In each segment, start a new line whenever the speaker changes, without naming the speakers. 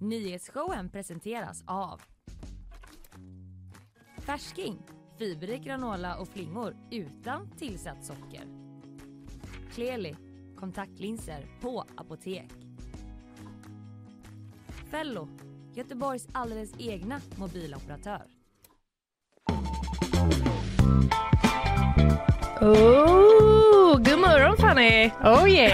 Nyhetsshowen presenteras av Färsking, fiberrik granola och flingor utan tillsatt socker. Kleli, kontaktlinser på apotek. Fello, Göteborgs alldeles egna mobiloperatör.
Oh, god morgon Fanny!
Oh yeah!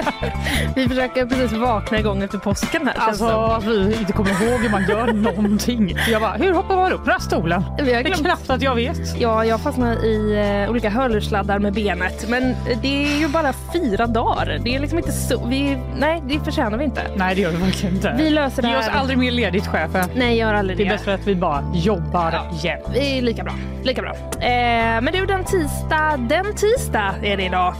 Vi försöker precis vakna igång efter påsken här.
Alltså att vi inte kommer ihåg hur man gör någonting. Jag bara, hur hoppar man upp den här stolen?
vi har
Det är
glömt.
knappt att jag vet.
Ja, jag fastnar i eh, olika hörlurssladdar med benet. Men det är ju bara fyra dagar. Det är liksom inte så... Vi, nej, det förtjänar vi inte.
Nej det gör vi verkligen inte.
Vi löser det
Ge
här.
oss aldrig mer ledigt chefen.
Nej, gör aldrig
Det
det.
är bättre att vi bara jobbar
Ja.
jämt.
Det är lika bra. Lika bra. Eh, men du, den tisdag, den tisdag är det idag.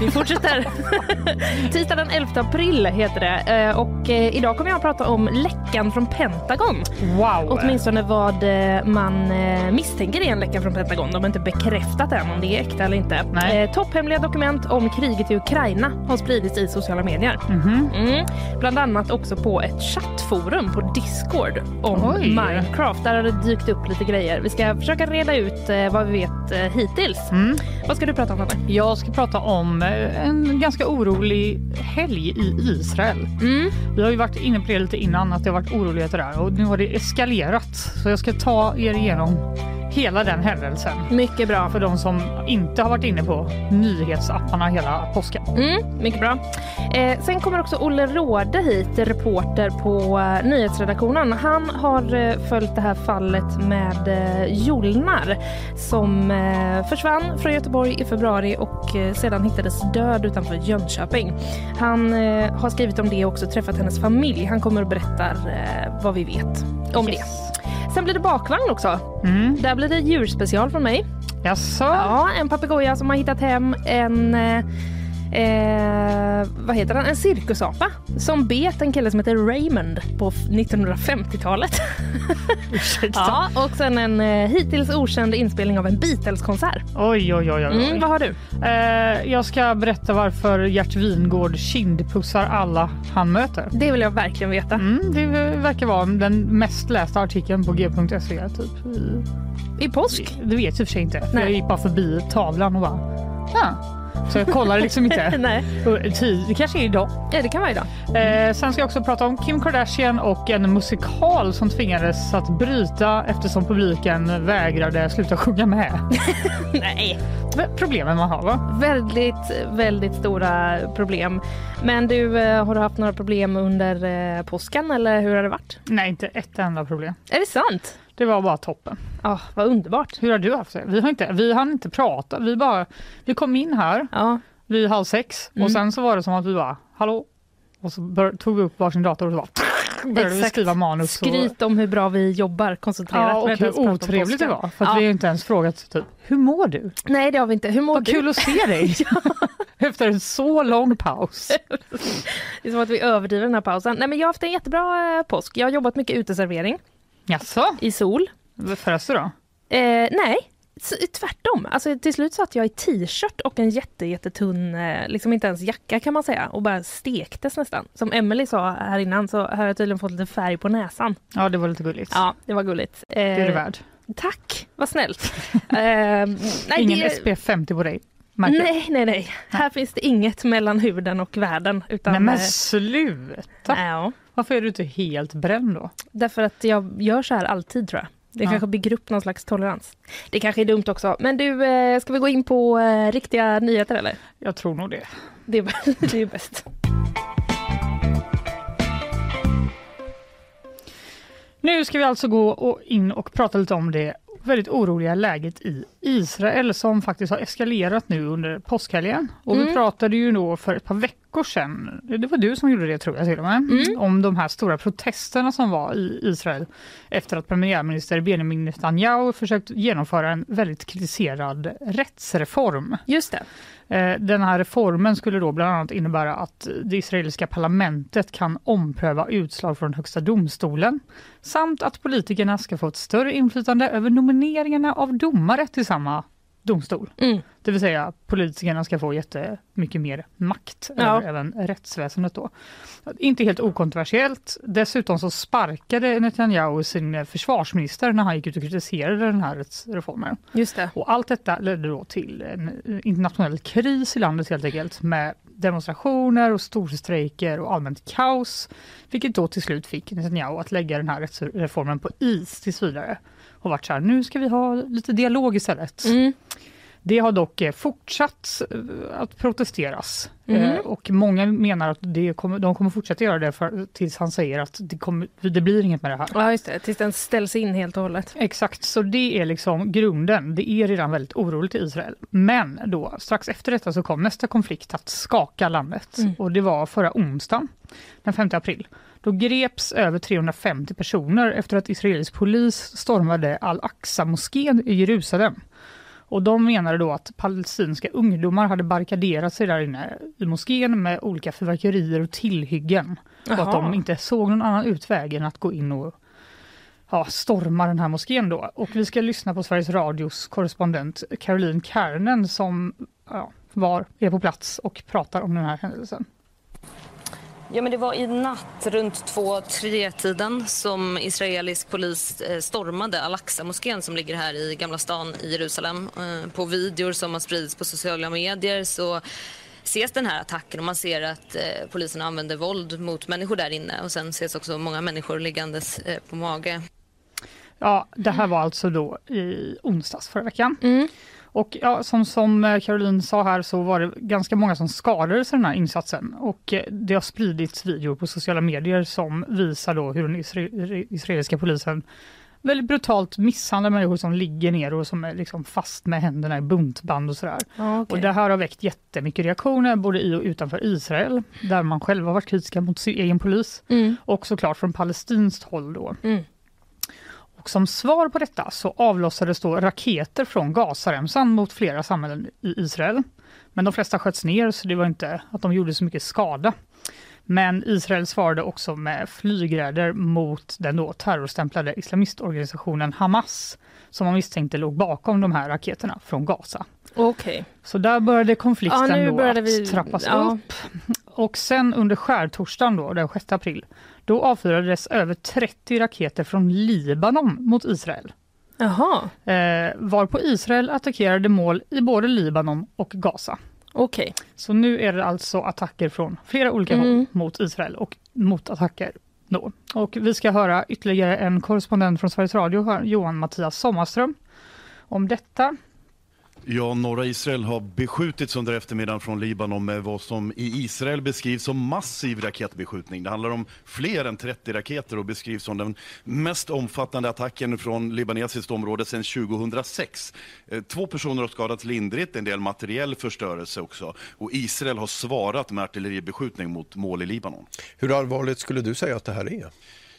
Vi fortsätter. tisdag den 11 april heter det. Eh, och eh, idag kommer jag att prata om läckan från Pentagon.
Wow!
Åtminstone vad eh, man eh, misstänker är en läcka från Pentagon. De har inte bekräftat än om det är äkta eller inte.
Nej.
Eh, topphemliga dokument om kriget i Ukraina har spridits i sociala medier.
Mhm.
Mm. Bland annat också på ett chattforum på Discord om
Oj.
Minecraft. Där har det dykt upp lite grejer. Vi ska försöka reda ut eh, vad vi vet eh, hittills.
Mm.
Vad ska du prata om Anna?
Jag ska prata om eh, en ganska orolig helg i Israel.
Mm.
Vi har ju varit inne på det lite innan att det har varit oroligheter där och nu har det eskalerat. Så jag ska ta er igenom hela den händelsen.
Mycket bra.
för de som inte har varit inne på nyhetsapparna hela påsken.
Mm, mycket bra. Eh, sen kommer också Olle Råde hit, reporter på eh, nyhetsredaktionen. Han har eh, följt det här fallet med eh, Jolnar som eh, försvann från Göteborg i februari och eh, sedan hittades död utanför Jönköping. Han eh, har skrivit om det och också träffat hennes familj. Han kommer och berättar eh, vad vi vet om det. Sen blir det bakvagn också.
Mm.
Där blir det djurspecial från mig.
Jaså?
Ja, en papegoja som har hittat hem en eh, Eh, vad heter han? En cirkusapa som bet en kille som heter Raymond på f- 1950-talet.
Ursäkta.
ja, och sen en eh, hittills okänd inspelning av en Beatles-konsert.
Oj, oj, oj. oj.
Mm, vad har du?
Eh, jag ska berätta varför Gert Wingård kindpussar alla han möter.
Det vill jag verkligen veta.
Mm, det verkar vara den mest lästa artikeln på g.se. Typ.
I påsk?
Det vet jag i och för sig inte. För
Nej.
jag gick bara förbi tavlan och bara... Ah. Så jag kollade liksom inte.
Nej,
Och tid- Det kanske är idag.
ja, det kan vara idag.
Eh, sen ska jag också prata om Kim Kardashian och en musikal som tvingades att bryta eftersom publiken vägrade sluta sjunga med.
Nej.
V- Problemen man har va?
Väldigt, väldigt stora problem. Men du, eh, har du haft några problem under eh, påsken eller hur har det varit?
Nej, inte ett enda problem.
Är det sant?
Det var bara toppen.
Ja, vad underbart.
Hur har du haft det? Vi har inte, vi hann inte prata. Vi bara, vi kom in här
Ja,
vid halv sex
Mm.
och sen så var det som att vi bara, hallå? Och så bör, tog vi upp varsin dator och så bara, började vi
Exakt.
skriva manus. och-
Skryt om hur bra vi jobbar koncentrerat.
Ja, och
medan vi
hur
pratar om
otrevligt det
påsken.
var. För att
Ja.
vi har inte ens frågat typ, hur mår du?
Nej, det har vi inte. Hur mår
Vad
du?
kul att se dig! Efter en så lång paus.
Det är som att vi överdriver den här pausen. Nej, men jag har haft en jättebra eh, påsk. Jag har jobbat mycket uteservering
Jaså?
i sol.
Förresten då?
Eh, nej, s- tvärtom. Alltså, till slut satt jag i t-shirt och en jätte, jättetunn, eh, liksom inte ens jacka kan man säga, och bara stektes nästan. Som Emelie sa här innan så har jag tydligen fått lite färg på näsan.
Ja, det var lite gulligt.
Ja, det var gulligt. Eh,
Det är det värd.
Tack, vad snällt. eh, nej,
Ingen
det-
SP50 på dig. märker jag.
Nej, nej, nej. Här finns det inget mellan huden och världen. Utan,
Nej men
eh,
sluta!
ja,
Varför är du inte helt bränd då?
därför att jag gör så här alltid tror jag. Det
Ja.
kanske bygger upp någon slags tolerans. Det kanske är dumt också. Men du, eh, ska vi gå in på eh, riktiga nyheter eller?
Jag tror nog det.
Det är, det är ju bäst.
Nu ska vi alltså gå och in och prata lite om det väldigt oroliga läget i Israel som faktiskt har eskalerat nu under påskhelgen. Och
Mm.
vi pratade ju då för ett par veckor sedan, det var du som gjorde det tror jag till och med,
Mm.
om de här stora protesterna som var i Israel efter att premiärminister Benjamin Netanyahu försökt genomföra en väldigt kritiserad rättsreform.
Just det.
Eh, Den här reformen skulle då bland annat innebära att det israeliska parlamentet kan ompröva utslag från Högsta domstolen samt att politikerna ska få ett större inflytande över nomineringarna av domare till samma domstol.
Mm.
Det vill säga politikerna ska få jättemycket mer makt
Ja.
över även rättsväsendet då. Inte helt okontroversiellt. Dessutom så sparkade Netanyahu sin försvarsminister när han gick ut och kritiserade den här rättsreformen.
Just det.
Och allt detta ledde då till en internationell kris i landet helt enkelt med demonstrationer och storstrejker och allmänt kaos. Vilket då till slut fick Netanyahu att lägga den här rättsreformen på is tills vidare. Och varit så här, nu ska vi ha lite dialog istället.
Mm.
Det har dock eh, fortsatt eh, att protesteras.
Mhm.
Eh, Och många menar att det kommer, de kommer fortsätta göra det för, tills han säger att det, kommer, det blir inget med det här.
Ja, just det. Tills den ställs in helt och hållet.
Exakt, så det är liksom grunden. Det är redan väldigt oroligt i Israel. Men då, strax efter detta så kom nästa konflikt att skaka landet.
Mm.
Och det var förra onsdagen, den 5 april. Då greps över 350 personer efter att israelisk polis stormade al-Aqsa-moskén i Jerusalem. Och de menade då att palestinska ungdomar hade barrikaderat sig där inne i moskén med olika fyrverkerier och tillhyggen. Och att
Jaha.
de inte såg någon annan utväg än att gå in och ja, storma den här moskén då. Och vi ska lyssna på Sveriges Radios korrespondent Caroline Kärnen som ja, var, är på plats och pratar om den här händelsen.
Ja, men det var i natt runt 2-3-tiden som israelisk polis eh, stormade Al-Aqsa-moskén som ligger här i Gamla stan i Jerusalem. Eh, På videor som har spridits på sociala medier så ses den här attacken och man ser att eh, polisen använder våld mot människor där inne och sen ses också många människor liggandes eh, på mage.
Ja, det här var alltså då i onsdags förra veckan.
Mm.
Och ja, som, som eh, Caroline sa här så var det ganska många som skadades i den här insatsen och eh, det har spridits videor på sociala medier som visar då hur den isre- israeliska polisen väldigt brutalt misshandlar människor som ligger ner och som är liksom fast med händerna i buntband och sådär.
Ja, okej.
Och det här har väckt jättemycket reaktioner både i och utanför Israel där man själv har varit kritiska mot sin egen polis
Mm.
och såklart från palestinskt håll då.
Mm.
Och som svar på detta så avlossades då raketer från Gazaremsan mot flera samhällen i Israel. Men de flesta sköts ner så det var inte att de gjorde så mycket skada. Men Israel svarade också med flygräder mot den då terrorstämplade islamistorganisationen Hamas som man misstänkte låg bakom de här raketerna från Gaza.
Okej.
Så där började konflikten
Ja, nu
då
började
att
vi-
trappas
ja.
upp. Och sen under skärtorsdagen då, den 6 april, då avfyrades över 30 raketer från Libanon mot Israel.
Jaha.
Eh, varpå Israel attackerade mål i både Libanon och Gaza.
Okej.
Så nu är det alltså attacker från flera olika
Mm.
håll mot Israel och motattacker. Då. Och vi ska höra ytterligare en korrespondent från Sveriges Radio, här, Johan Mattias Sommarström, om detta.
Ja, norra Israel har beskjutits under eftermiddagen från Libanon med vad som i Israel beskrivs som massiv raketbeskjutning. Det handlar om fler än 30 raketer och beskrivs som den mest omfattande attacken från libanesiskt område sedan 2006. Eh, Två personer har skadats lindrigt, en del materiell förstörelse också. Och Israel har svarat med artilleribeskjutning mot mål i Libanon.
Hur allvarligt skulle du säga att det här är?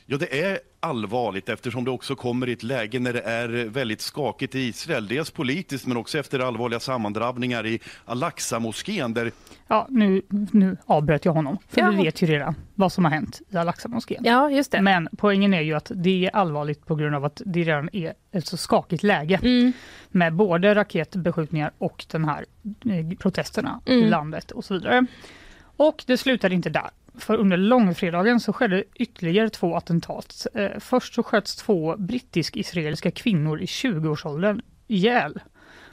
Ja, det är allvarligt eftersom det också kommer i ett läge när det är väldigt skakigt i Israel. Dels politiskt men också efter allvarliga sammandrabbningar i Al-Aqsa-moskén där
Ja, nu, nu avbröt jag honom, för
Ja.
vi vet ju redan vad som har hänt i Al-Aqsa-moskén.
Ja, just det.
Men poängen är ju att det är allvarligt på grund av att det redan är ett så skakigt läge
Mm.
med både raketbeskjutningar och den här eh, protesterna
Mm.
i landet och så vidare. Och det slutade inte där. För under långfredagen så skedde ytterligare två attentat. Eh, först så sköts två brittisk-israeliska kvinnor i 20-årsåldern ihjäl.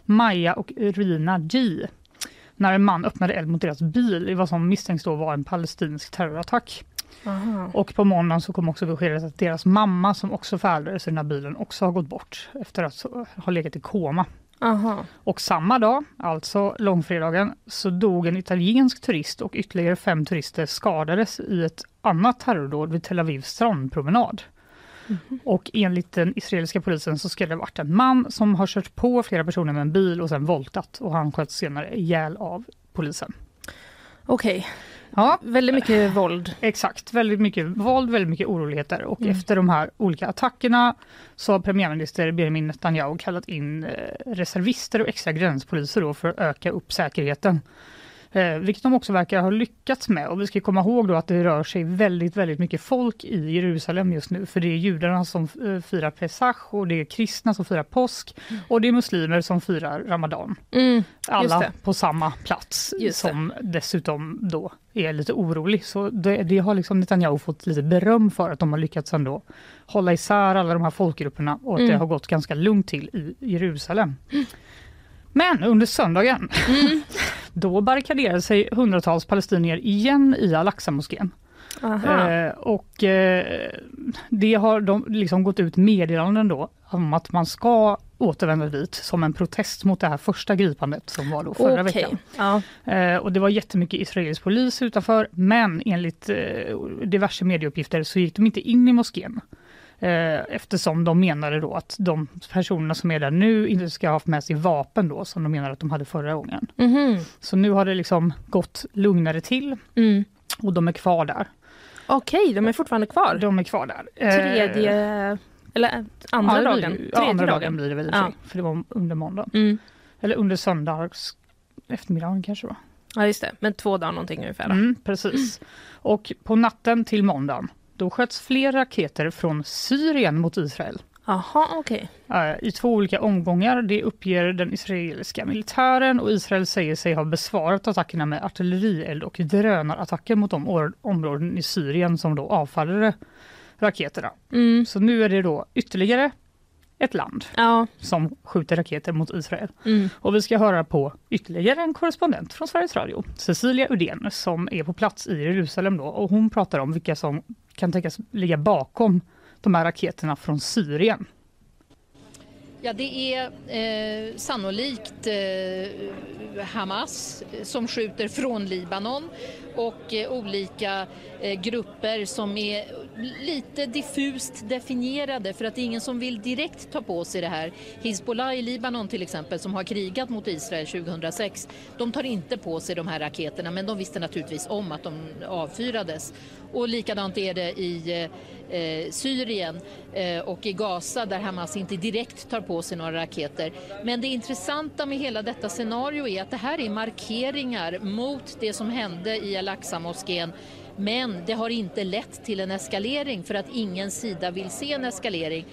Maja och Rina G. När en man öppnade eld mot deras bil i vad som misstänks då vara en palestinsk terrorattack.
Aha.
Och på måndagen så kom också beskedet att deras mamma som också färdades i den här bilen också har gått bort efter att ha legat i koma.
Aha.
Och samma dag, alltså långfredagen, så dog en italiensk turist och ytterligare fem turister skadades i ett annat terrordåd vid Tel Avivs strandpromenad. Och enligt den israeliska polisen så ska det ha varit en man som har kört på flera personer med en bil och sen voltat och han sköts senare ihjäl av polisen.
Okej.
Ja,
Väldigt mycket våld.
Exakt, väldigt mycket våld, väldigt mycket oroligheter och efter de här olika attackerna så har premiärminister Benjamin Netanyahu kallat in eh, reservister och extra gränspoliser då för att öka upp säkerheten. Eh, vilket de också verkar ha lyckats med. Och vi ska komma ihåg då att det rör sig väldigt, väldigt mycket folk i Jerusalem just nu. För det är judarna som eh, firar Pesach och det är kristna som firar påsk och det är muslimer som firar Ramadan.
Mm. Just
Alla
det.
på samma plats
Just det.
som dessutom då är lite orolig. Så det, det har liksom Netanyahu fått lite beröm för att de har lyckats ändå hålla isär alla de här folkgrupperna och att det
Mm.
har gått ganska lugnt till i Jerusalem. Men under söndagen
Mm.
då barrikaderade sig hundratals palestinier igen i Al-Aqsa-moskén.
Aha.
Eh, och eh, det har de liksom gått ut meddelanden då om att man ska återvända dit som en protest mot det här första gripandet som var då förra
Okej.
veckan.
Ja.
Eh, och det var jättemycket israelisk polis utanför men enligt eh, diverse medieuppgifter så gick de inte in i moskén. Eh, eftersom de menade då att de personerna som är där nu inte ska ha haft med sig vapen då som de menar att de hade förra gången.
Mhm.
Så nu har det liksom gått lugnare till
Mm.
och de är kvar där.
Okej, de är fortfarande kvar.
De är kvar där. Eh,
Tredje... Eller eh, andra
ja, det blir-
dagen.
Ja,
Tredje
andra dagen blir det väl i och för
Ja.
sig, för det var under måndagen.
Mm.
Eller under söndags eftermiddagen kanske det var.
Ja, just det. Men två dagar någonting ungefär. då.
Mm, precis. Och på natten till måndagen då sköts fler raketer från Syrien mot Israel
Jaha, okej.
eh, i två olika omgångar. Det uppger den israeliska militären och Israel säger sig ha besvarat attackerna med artillerield och drönarattacker mot de or- områden i Syrien som då avfallade raketerna.
Mm.
Så nu är det då ytterligare ett land
Ja.
som skjuter raketer mot Israel.
Mm.
Och vi ska höra på ytterligare en korrespondent från Sveriges Radio, Cecilia Uddén, som är på plats i Jerusalem då och hon pratar om vilka som kan tänkas ligga bakom de här raketerna från Syrien.
Ja, det är eh, sannolikt eh, Hamas som skjuter från Libanon och eh, olika eh, grupper som är lite diffust definierade för att det är ingen som vill direkt ta på sig det här. Hizbollah i Libanon till exempel som har krigat mot Israel 2006, de tar inte på sig de här raketerna men de visste naturligtvis om att de avfyrades. Och likadant är det i eh, eh, Syrien eh, och i Gaza där Hamas inte direkt tar på sig några raketer. Men det intressanta med hela detta scenario är att det här är markeringar mot det som hände i Al-Aqsa-moskén men det har inte lett till en eskalering för att ingen sida vill se en eskalering.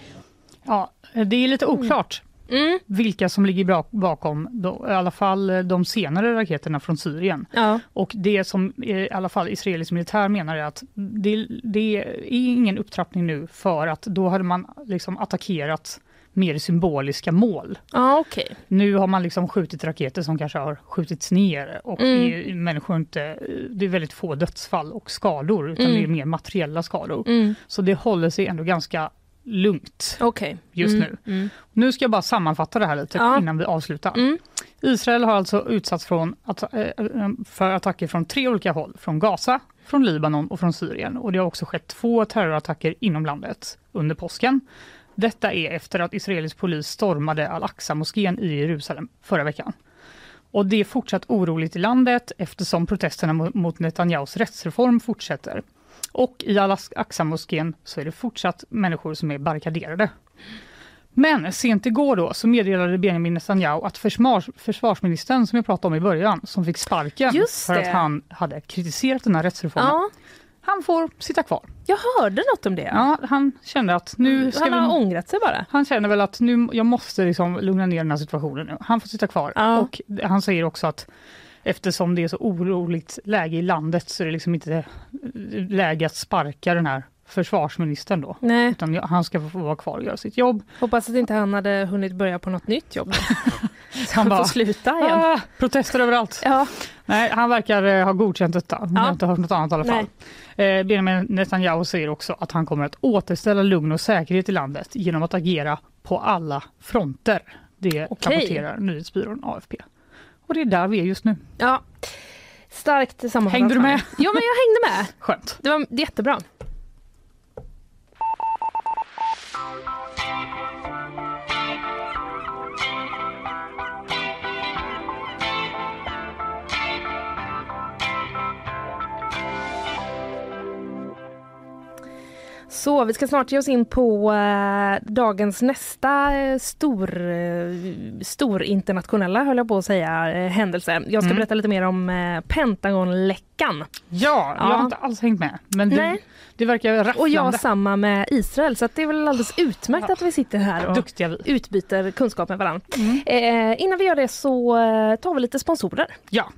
Ja, det är lite oklart
Mm.
vilka som ligger bra- bakom då, i alla fall de senare raketerna från Syrien.
Ja.
Och det som eh, i alla fall israelisk militär menar är att det, det är ingen upptrappning nu för att då hade man liksom attackerat mer symboliska mål.
Ja, okej.
Nu har man liksom skjutit raketer som kanske har skjutits ner och
Mm.
är, människor inte, det är väldigt få dödsfall och skador utan
Mm.
det är mer materiella skador.
Mm.
Så det håller sig ändå ganska lugnt
Okej.
just
Mm.
nu. Nu ska jag bara sammanfatta det här lite
Ja.
innan vi avslutar.
Mm.
Israel har alltså utsatts från att, eh, för attacker från tre olika håll, från Gaza, från Libanon och från Syrien. Och det har också skett två terrorattacker inom landet under påsken. Detta är efter att israelisk polis stormade al-Aqsa-moskén i Jerusalem förra veckan. Och det är fortsatt oroligt i landet eftersom protesterna mo- mot Netanyahus rättsreform fortsätter. Och i al-Aqsa-moskén så är det fortsatt människor som är barrikaderade. Men sent igår då så meddelade Benjamin Netanyahu att försvars- försvarsministern som jag pratade om i början, som fick sparken
Just
för att
det.
han hade kritiserat den här rättsreformen,
Ja,
han får sitta kvar.
jag hörde något om det.
Ja, han kände att nu ska
Han har
vi...
ångrat sig bara.
Han känner väl att nu, jag måste liksom lugna ner den här situationen nu. Han får sitta kvar.
Ja.
Och han säger också att eftersom det är så oroligt läge i landet så är det liksom inte läge att sparka den här försvarsministern då.
Nej,
Utan jag- han ska få vara kvar och göra sitt jobb.
hoppas att inte han hade hunnit börja på något nytt jobb. då. Så han
bara-
får sluta igen.
Ah, protester överallt.
Ja,
Nej, han verkar eh, ha godkänt detta. Vi har
Ja.
inte hört något annat i alla fall. Eh, Benjamin Netanyahu säger också att han kommer att återställa lugn och säkerhet i landet genom att agera på alla fronter. Det
Okej.
rapporterar nyhetsbyrån AFP. Och det är där vi är just nu.
ja. Starkt sammanfattat.
Hängde du med?
Ja, men jag hängde med.
Skönt.
Det var jättebra. Så vi ska snart ge oss in på eh, dagens nästa eh, stor, eh, stor internationella höll jag på att säga, eh, händelse. Jag ska
Mm.
berätta lite mer om eh, Pentagonläckan.
Ja, jag
Ja.
har inte alls hängt med. Men det,
Nej.
det verkar rafflande.
Och jag samma med Israel så att det är väl alldeles utmärkt att vi sitter här och
Duktiga vi.
utbyter kunskap med varandra. Eh, innan vi gör det så eh, tar vi lite sponsorer.
Ja,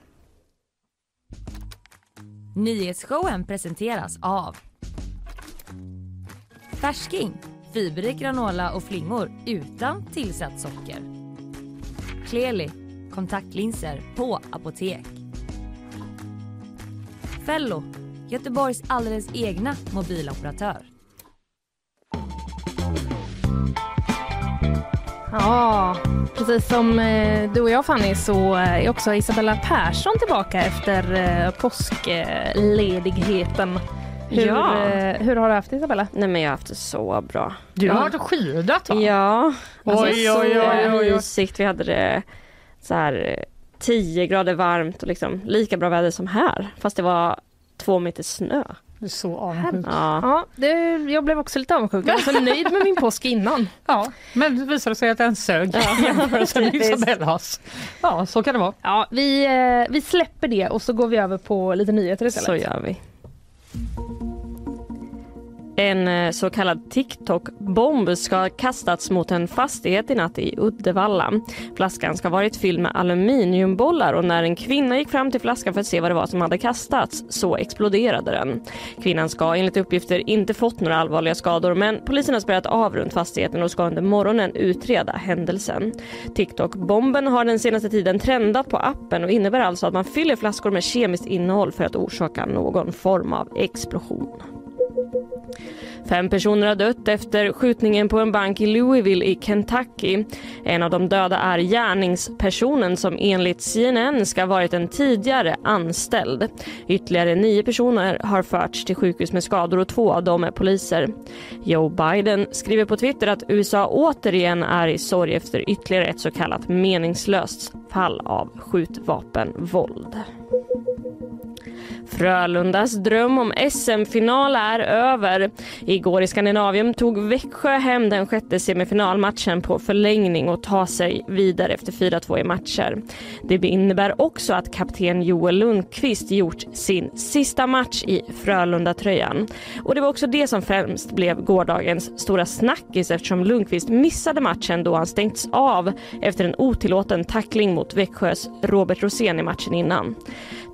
Nyhetsshowen presenteras av Färsking, fiberrik granola och flingor utan tillsatt socker. Kleli, kontaktlinser på apotek. Fello, Göteborgs alldeles egna mobiloperatör.
Ja, precis som eh, du och jag Fanny så eh, är också Isabella Persson tillbaka efter eh, påskledigheten. Hur,
Ja.
eh, hur har du haft det, Isabella?
Nej men jag har haft det så bra.
du har varit och skidat va?
Ja. Alltså,
Oj, oj, oj, oj, oj.
mysigt. Vi hade det så här eh, 10 grader varmt och liksom lika bra väder som här. Fast det var två meter snö.
Det är så avundsjuk.
Ja.
Ja, det, jag blev också lite avundsjuk. Jag var så nöjd med min påsk innan.
Ja, men det visade sig att den sög i jämförelse med
Typiskt.
Isabellas. Ja, så kan det vara.
Ja, vi, eh, vi släpper det och så går vi över på lite nyheter istället.
Så gör vi. En eh, så kallad TikTok-bomb ska ha kastats mot en fastighet i natt i Uddevalla. Flaskan ska ha varit fylld med aluminiumbollar och när en kvinna gick fram till flaskan för att se vad det var som hade kastats så exploderade den. Kvinnan ska enligt uppgifter inte fått några allvarliga skador men polisen har spärrat av runt fastigheten och ska under morgonen utreda händelsen. TikTok-bomben har den senaste tiden trendat på appen och innebär alltså att man fyller flaskor med kemiskt innehåll för att orsaka någon form av explosion. Fem personer har dött efter skjutningen på en bank i Louisville i Kentucky. En av de döda är gärningspersonen som enligt CNN ska ha varit en tidigare anställd. Ytterligare nio personer har förts till sjukhus med skador och två av dem är poliser. Joe Biden skriver på Twitter att USA återigen är i sorg efter ytterligare ett så kallat meningslöst fall av skjutvapenvåld. Frölundas dröm om SM-final är över. Igår i Skandinavien tog Växjö hem den sjätte semifinalmatchen på förlängning och tar sig vidare efter 4-2 i matcher. Det innebär också att kapten Joel Lundqvist gjort sin sista match i Frölunda-tröjan. Och det var också det som främst blev gårdagens stora snackis eftersom Lundqvist missade matchen då han stängts av efter en otillåten tackling mot Växjös Robert Rosén i matchen innan.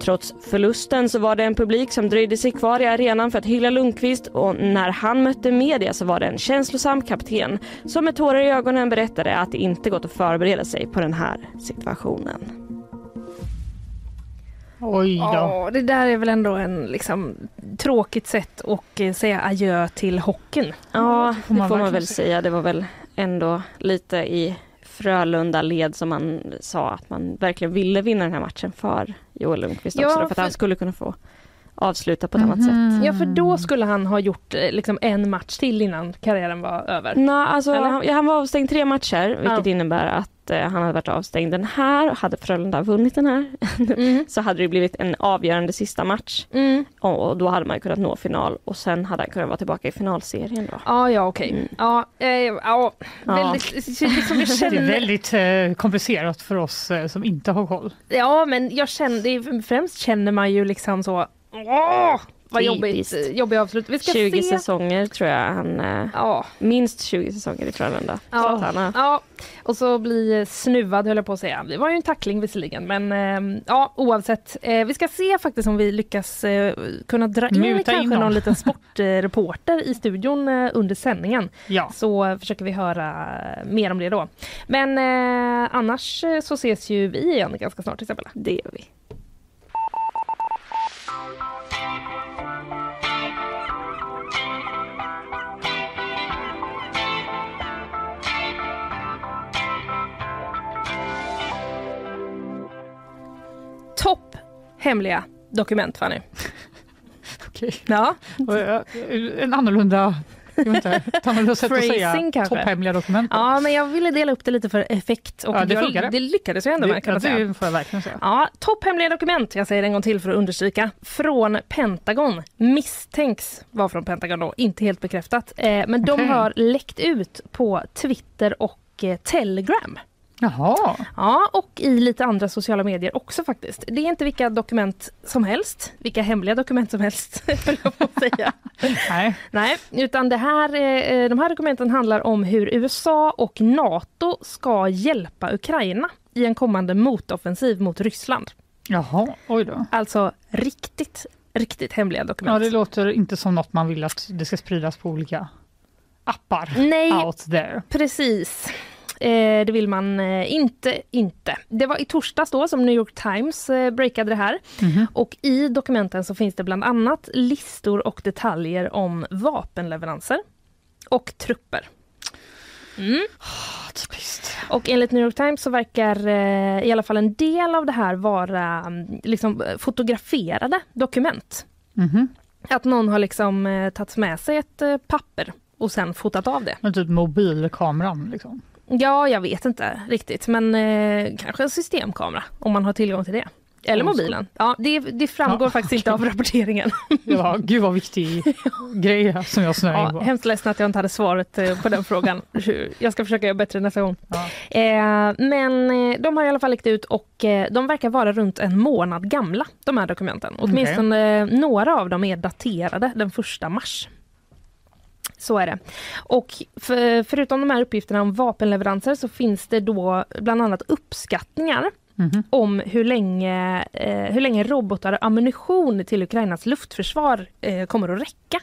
Trots förlusten så var det en publik som dröjde sig kvar i arenan för att hylla Lundqvist och när han mötte media så var det en känslosam kapten som med tårar i ögonen berättade att det inte gått att förbereda sig på den här situationen.
Oj då.
Ja, det där är väl ändå en liksom, tråkigt sätt att eh, säga adjö till hockeyn.
Ja, det får man,
verkligen
väl säga. Det var väl ändå lite i Frölunda-led som man sa att man verkligen ville vinna den här matchen för Joel Lundqvist
Ja,
också. Då, för att
för- Mhm.
han skulle kunna få avsluta på ett annat sätt.
Ja, för då skulle han ha gjort eh, liksom, en match till innan karriären var över.
Nej, alltså,
Eller?
han, ja, han var avstängd tre matcher, vilket
Ja.
innebär att eh, han hade varit avstängd den här. Hade Frölunda vunnit den här
Mm.
så hade det blivit en avgörande sista match. Och, och då hade man kunnat nå final och sen hade han kunnat vara tillbaka i finalserien då.
Ja, ja, okej.
Mm.
Ja, eh, ja,
Ja.
väldigt, liksom, jag
Det är
känner,
väldigt eh, komplicerat för oss eh, som inte har koll.
ja, men jag känner, det är, främst känner man ju liksom så, åh, vad jobbigt,
Typiskt.
eh, jobbig avslut. Vi ska
20
se.
säsonger tror jag han, eh,
Ja,
minst 20 säsonger i Frölunda.
Ja.
Så att han har-
ja, och så bli snuvad höll jag på att säga. Det var ju en tackling visserligen, men eh, ja, oavsett. Eh, vi ska se faktiskt om vi lyckas eh, kunna dra in
Muta in
kanske
någon.
någon liten sportreporter i studion eh, under sändningen.
Ja.
Så eh, försöker vi höra mer om det då. Men eh, annars eh, så ses ju vi igen ganska snart Isabella.
Det gör vi.
Topp hemliga dokument Fanny.
Okej.
Ja,
Och, eh, En annorlunda Det är väl inte ett annorlunda sätt att
Phrasing
säga
kanske.
topphemliga dokument. på.
Ja, men jag ville dela upp det lite för effekt och
Ja, det
jag,
funkade.
det lyckades jag ändå
det,
med. Kan man
ja,
säga.
det får jag verkligen säga.
Ja, topphemliga dokument, jag säger det en gång till för att understryka, från Pentagon. Misstänks vara från Pentagon då, inte helt bekräftat. Eh, men de
Okej.
har läckt ut på Twitter och eh, Telegram.
Jaha,
Ja, och i lite andra sociala medier också faktiskt. Det är inte vilka dokument som helst, vilka hemliga dokument som helst, höll jag på att säga.
nej.
Nej, utan det här, eh, de här dokumenten handlar om hur USA och Nato ska hjälpa Ukraina i en kommande motoffensiv mot Ryssland.
Jaha, oj då.
Alltså riktigt, riktigt hemliga dokument.
Ja, det låter inte som något man vill att det ska spridas på olika appar
Nej,
out there.
precis. Eh, det vill man eh, inte, inte. Det var i torsdags då som New York Times eh, breakade det här.
Mhm.
Och i dokumenten så finns det bland annat listor och detaljer om vapenleveranser och trupper.
Ah, Typiskt.
Och enligt New York Times så verkar eh, i alla fall en del av det här vara mm, liksom, eh, fotograferade dokument.
Mhm.
Att någon har liksom eh, tagit med sig ett eh, papper och sen fotat av det.
Men typ mobilkameran liksom.
Ja, jag vet inte riktigt, men eh, kanske en systemkamera om man har tillgång till det. Eller
Ja, så.
mobilen. Ja, det, det framgår
Ja,
faktiskt inte av rapporteringen.
Det var, gud vad viktig grej här som jag snöade in
Ja,
på.
hemskt ledsen att jag inte hade svaret eh, på den frågan. Hur- Jag ska försöka göra bättre nästa gång.
Ja.
Eh, men eh, de har i alla fall läckt ut och eh, de verkar vara runt en månad gamla, de här dokumenten. Åtminstone eh, några av dem är daterade den 1 mars. Så är det. Och för, förutom de här uppgifterna om vapenleveranser så finns det då bland annat uppskattningar
Mhm.
om hur länge, eh, hur länge robotar och ammunition till Ukrainas luftförsvar eh, kommer att räcka.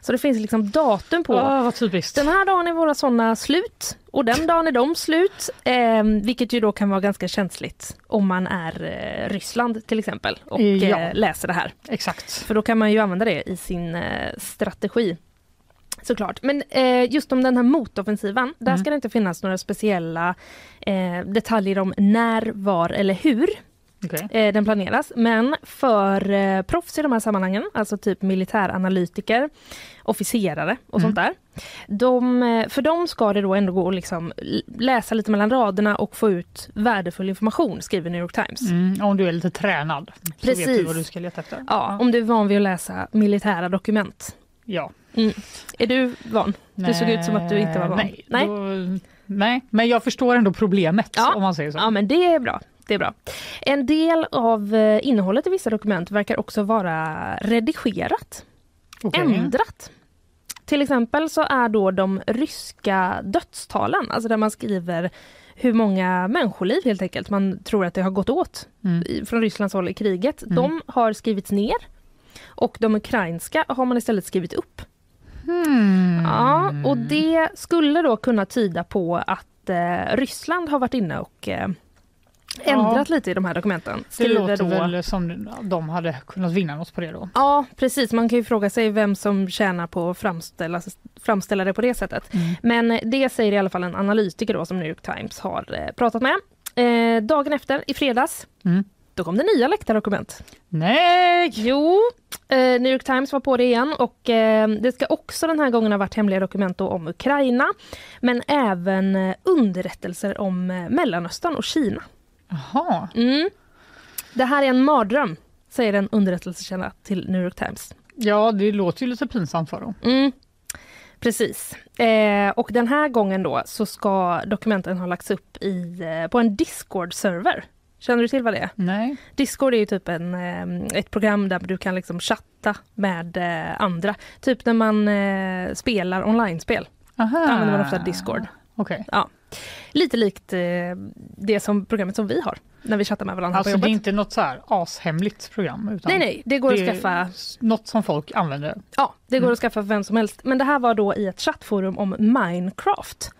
Så det finns liksom datum på
Ah, vad typiskt.
den här dagen är våra sådana slut och den dagen är de slut. Eh, vilket ju då kan vara ganska känsligt om man är eh, Ryssland till exempel och
Ja.
eh, läser det här.
Exakt.
För då kan man ju använda det i sin eh, strategi. Såklart. Men eh, just om den här motoffensiven, där ska det inte finnas några speciella eh, detaljer om när, var eller hur
Okej.
eh, den planeras. Men för eh, proffs i de här sammanhangen, alltså typ militäranalytiker, officerare och sånt där. De, eh, för dem ska det då ändå gå att liksom l- läsa lite mellan raderna och få ut värdefull information, skriver New York Times.
Mm, om du är lite tränad så vet du
Precis.
vad du ska leta efter.
Ja, om du är van vid att läsa militära dokument.
Ja.
Är du van? Du såg ut som att du inte var van.
Nej,
Nej.
Då, nej. men jag förstår ändå problemet
Ja.
om man säger så.
Ja, men det är bra. Det är bra. En del av eh, innehållet i vissa dokument verkar också vara redigerat.
Okej.
ändrat. Till exempel så är då de ryska dödstalen, alltså där man skriver hur många människoliv helt enkelt man tror att det har gått åt
Mm.
i- från Rysslands håll i kriget. De har skrivits ner och de ukrainska har man istället skrivit upp.
Hmm.
Ja, och det skulle då kunna tyda på att eh, Ryssland har varit inne och eh, ändrat lite i de här dokumenten.
Det
Skriver
låter
då-
väl som de hade kunnat vinna något på det då.
Ja, precis. Man kan ju fråga sig vem som tjänar på att framställa, framställa det på det sättet. Men det säger i alla fall en analytiker då, som New York Times har eh, pratat med. Eh, dagen efter, i fredags,
Mm.
då kom det nya läckta dokument.
Nej!
Jo, eh, New York Times var på det igen och eh, det ska också den här gången ha varit hemliga dokument då om Ukraina, men även eh, underrättelser om eh, Mellanöstern och Kina.
Jaha.
Mm. Det här är en mardröm, säger en underrättelsekälla till New York Times.
Ja, det låter ju lite pinsamt för dem.
Mm. Precis. Eh, och den här gången då så ska dokumenten ha lagts upp i, eh, på en Discord-server. Känner du till vad det är?
Nej.
Discord är ju typ en, eh, ett program där du kan liksom chatta med eh, andra. Typ när man eh, spelar online-spel.
Aha.
Då använder man ofta
Ah.
Discord.
Okej.
Lite likt eh, det som programmet som vi har när vi chattar med varandra
Alltså
på
det är
jobbet.
inte något så här ashemligt program? Utan
Nej, nej, det går
det Mm.
att skaffa.
är något som folk använder.
Ja, det går att skaffa för vem som helst. Men det här var då i ett chattforum om Minecraft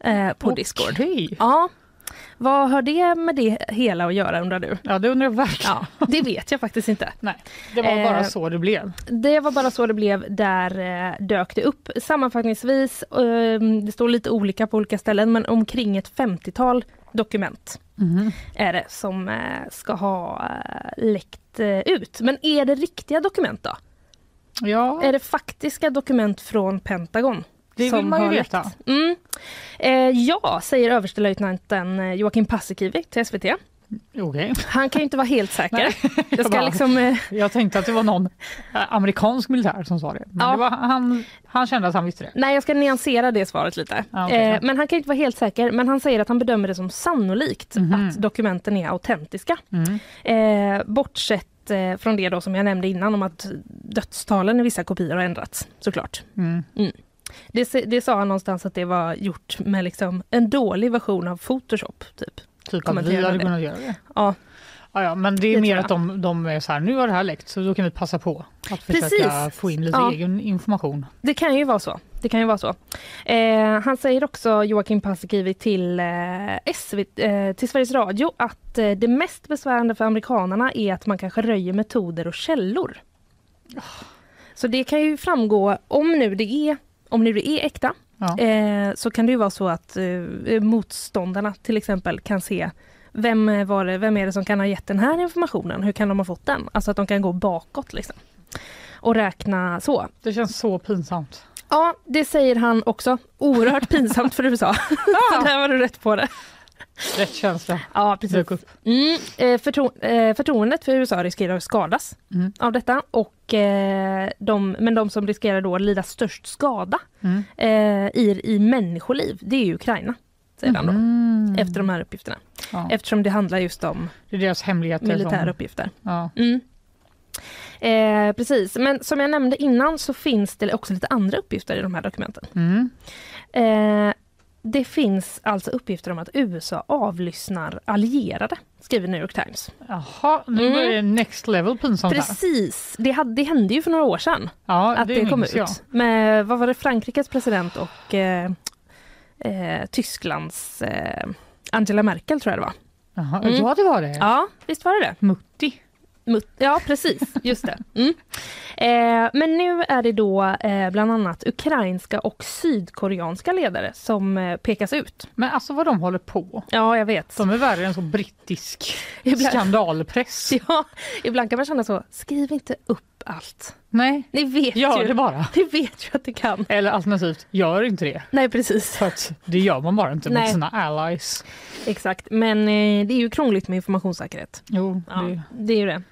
eh, på Discord.
Okej.
Ja. Vad har det med det hela att göra undrar du?
Ja, det undrar jag verkligen.
Ja, det vet jag faktiskt inte.
Nej, det var bara
Eh,
så det blev.
Det var bara så det blev. Där eh, dök det upp. Sammanfattningsvis, eh, det står lite olika på olika ställen, men omkring ett 50-tal dokument är det som eh, ska ha eh, läckt eh, ut. Men är det riktiga dokument då?
Ja,
Är det faktiska dokument från Pentagon?
det vill
som
man ju
har
veta.
läckt? Mm. Eh, ja, säger överstelöjtnanten eh, Joakim Paasikivi till SVT.
Okej.
Han kan ju inte vara helt säker. Jag ska
bara-
liksom... Eh,
Jag tänkte att det var någon eh, amerikansk militär som sa det. Men
Ja.
det var, han, han kände att han visste det.
Nej, jag ska nyansera det svaret lite.
Ja, okej,
eh,
ja.
men han kan ju inte vara helt säker, men han säger att han bedömer det som sannolikt
Mhm.
att dokumenten är autentiska.
Mm.
Eh, bortsett eh, från det då som jag nämnde innan om att dödstalen i vissa kopior har ändrats, såklart.
Mm.
Mm. Det, se- det sa han någonstans att det var gjort med liksom en dålig version av Photoshop. Typ.
Typ att vi
Kommenterade
hade
det.
kunnat göra det.
Ja,
Ja, ja, men det är
Det
mer
tror jag.
att de, de är så här, nu har det här läckt så då kan vi passa på att försöka
Precis.
få in lite
Ja.
egen information.
Det kan ju vara så. Det kan ju vara så. Eh, han säger också, Joakim Paasikivi, till, eh, SVT, eh, till Sveriges Radio att eh, det mest besvärande för amerikanerna är att man kanske röjer metoder och källor. Så det kan ju framgå, om nu det är, om nu det är äkta,
Ja.
eh, så kan det ju vara så att eh, motståndarna till exempel kan se vem, eh, var det, vem är det som kan ha gett den här informationen? Hur kan de ha fått den? Alltså att de kan gå bakåt liksom. Och räkna så.
Det känns så pinsamt.
Ja, det säger han också. Oerhört pinsamt för USA. Så Där var du rätt på det.
Rätt känsla
Ja, precis.
dök upp.
Mm, eh, förtro eh, förtroendet för USA riskerar att skadas
Mm.
av detta. Och, eh, de, men de som riskerar då att lida störst skada
Mm.
eh, i, i människoliv, det är ju Ukraina. Säger han då,
Mm.
efter de här uppgifterna.
Ja.
Eftersom det handlar just om
Det är deras hemligheter. som-
militära uppgifter.
Ja.
Mm. Eh, precis, men som jag nämnde innan så finns det också lite andra uppgifter i de här dokumenten.
Mm.
Eh, det finns alltså uppgifter om att USA avlyssnar allierade, skriver New York Times.
Jaha, nu
Mm.
börjar det next level pinsamt här.
Precis, det, hade, det hände ju för några år sedan
Ja,
att det, kom
minns
ut. Med, vad var det, Frankrikes president och eh, eh, Tysklands eh, Angela Merkel tror jag det var.
Jaha,
Mm.
Ja, det var det.
Ja, visst var det det?
Mutti.
Mut- Ja, precis. Just det. Mm. Eh, men nu är det då eh, bland annat ukrainska och sydkoreanska ledare som eh, pekas ut.
Men alltså vad de håller på.
Ja, jag vet.
De är värre än så brittisk
Ibland-
skandalpress.
Ja, ibland kan man känna så. Skriv inte upp allt.
Nej,
Ni vet
gör
ju.
det bara.
Ni vet ju att det kan.
Eller alternativt, gör inte det.
Nej, precis.
För att det gör man bara inte
Nej.
mot sina allies.
Exakt. Men eh, det är ju krångligt med informationssäkerhet.
Jo,
Ja,
det,
det är ju det.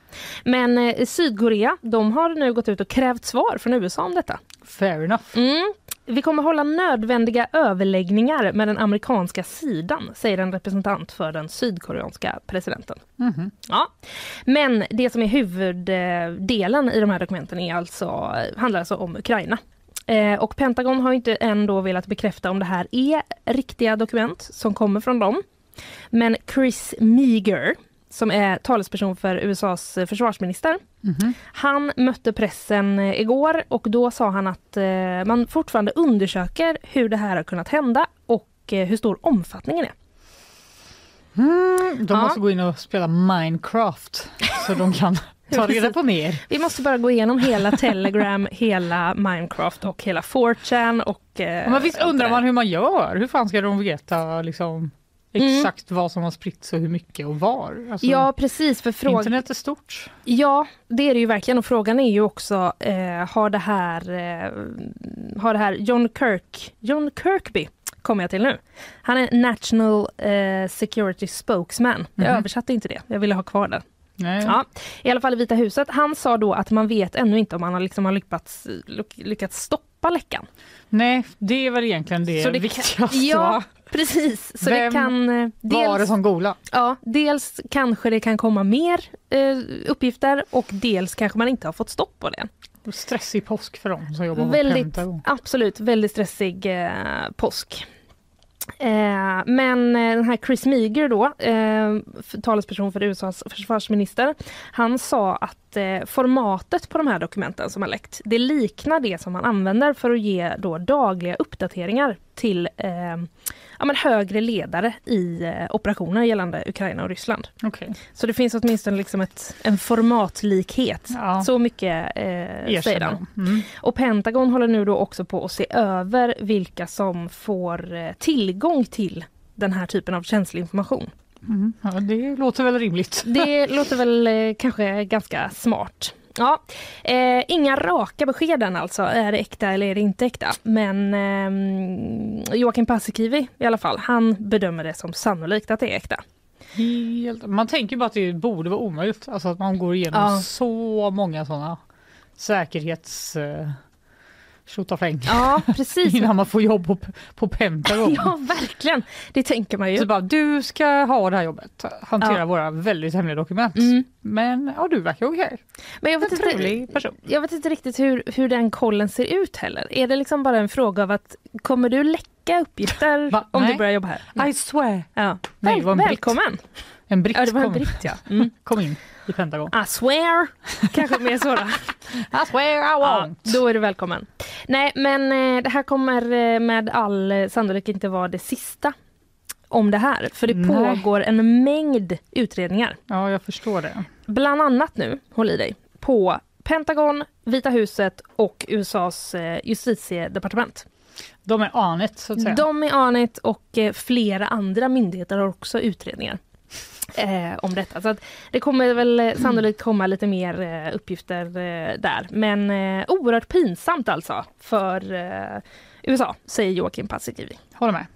Men eh, Sydkorea, de har nu gått ut och krävt svar från USA om detta.
fair enough.
Mm. Vi kommer hålla nödvändiga överläggningar med den amerikanska sidan, säger en representant för den sydkoreanska presidenten.
Mhm.
Ja. Men det som är huvuddelen i de här dokumenten är alltså, handlar alltså om Ukraina. Eh, och Pentagon har ju inte ändå velat bekräfta om det här är riktiga dokument som kommer från dem. Men Chris Meager, som är talesperson för USAs försvarsminister,
Mhm.
han mötte pressen eh, igår och då sa han att eh, man fortfarande undersöker hur det här har kunnat hända och eh, hur stor omfattningen är.
De
Ja.
måste gå in och spela Minecraft så de kan ta reda på mer.
Vi måste bara gå igenom hela Telegram, hela Minecraft och hela 4chan och... Eh,
Ja, Men visst
allt
undrar
det där.
man hur man gör? Hur fan ska de veta liksom, exakt vad som har spritts och hur mycket och var? Alltså,
Mm. Ja, precis. För frågan,
internet är stort.
Ja, det är det ju verkligen. Och frågan är ju också, eh, har, det här, eh, har det här John Kirk, John Kirkby, kommer jag till nu. Han är National eh, Security Spokesman. Jag
Mhm. Mm.
översatte inte det, jag ville ha kvar den.
Nej.
Ja, I alla fall i Vita huset. Han sa då att man vet ännu inte om han har, liksom har lyckats, lyckats stoppa läckan.
Nej, det är väl egentligen det,
Så det kan-
viktigaste.
Ja, precis. Så
Vem
det kan... eh,
Var det som gola?
Ja, dels kanske det kan komma mer eh, uppgifter och dels kanske man inte har fått stopp på det.
Stressig påsk för dem som jobbar på
Väldigt,
Pentagon.
absolut, väldigt stressig eh, påsk. Eh, men eh, den här Chris Meager då, eh, för- talesperson för USAs försvarsminister, han sa att eh, formatet på de här dokumenten som har läckt, det liknar det som man använder för att ge då dagliga uppdateringar till eh, ja, men högre ledare i eh, operationer gällande Ukraina och Ryssland.
Okej.
Så det finns åtminstone liksom ett, en formatlikhet.
Ja.
Så mycket eh, säger
Erkänner
han.
de. Mm.
Och Pentagon håller nu då också på att se över vilka som får eh, tillgång till den här typen av känslig information.
Ja, det låter väl rimligt.
Det låter väl eh, kanske ganska smart. Ja, eh, inga raka beskeden alltså. Är det äkta eller är det inte äkta? Men eh, Joakim Paasikivi i alla fall, han bedömer det som sannolikt att det är äkta.
Helt, man tänker ju bara att det borde vara omöjligt. Alltså att man går igenom
Ja.
så många sådana säkerhets... Eh, tjotafläng
Ja, precis.
innan man får jobb på, på Pentagon.
ja, verkligen. Det tänker man
Så
ju.
bara, du ska ha det här jobbet, hantera
Ja.
våra väldigt hemliga dokument.
Mm.
Men ja, du verkar okej.
Men jag vet
En
inte,
trevlig person.
jag vet inte riktigt hur, hur den kollen ser ut heller. Är det liksom bara en fråga av att kommer du läcka uppgifter
Va?
om du
Nej.
börjar jobba här?
I swear.
Ja.
Nej, det var en britt.
Välkommen!
En britt
Ja, det var en
kom,
britt ja. Mm.
kom in i Pentagon.
I swear! Kanske mer så då.
I swear I
Ja,
won't.
då är du välkommen. Nej, men eh, det här kommer eh, med all eh, sannolikhet inte vara det sista om det här. För det
Nej.
pågår en mängd utredningar.
Ja, jag förstår det.
Bland annat nu, håll i dig, på Pentagon, Vita huset och USAs eh, justitiedepartement.
De är anet så att säga.
De i Anit och eh, flera andra myndigheter har också utredningar eh, om detta. Så att det kommer väl eh, sannolikt komma lite mer eh, uppgifter eh, där. Men eh, oerhört pinsamt alltså för eh, USA, säger Joakim Paasikivi.
Håller med.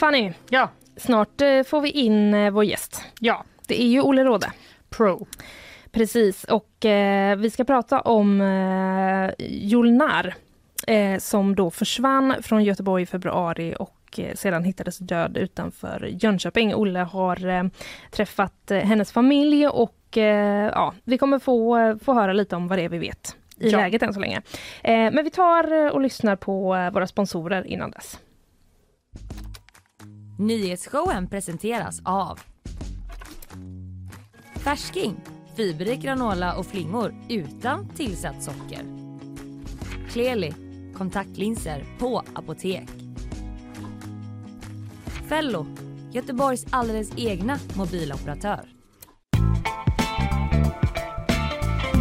Fanny,
Ja,
snart eh, får vi in eh, vår gäst.
ja.
Det är ju Olle Råde.
Pro.
Precis, och eh, vi ska prata om eh, Jolnar eh, som då försvann från Göteborg i februari och eh, sedan hittades död utanför Jönköping. Olle har eh, träffat eh, hennes familj och eh, ja, vi kommer få, eh, få höra lite om vad det är vi vet i
Ja.
läget än så länge. Eh, men vi tar eh, och lyssnar på eh, våra sponsorer innan dess.
Nyhetsshowen presenteras av Färsking, fiberrik granola och flingor utan tillsatt socker. Kleli, kontaktlinser på apotek. Fello, Göteborgs alldeles egna mobiloperatör.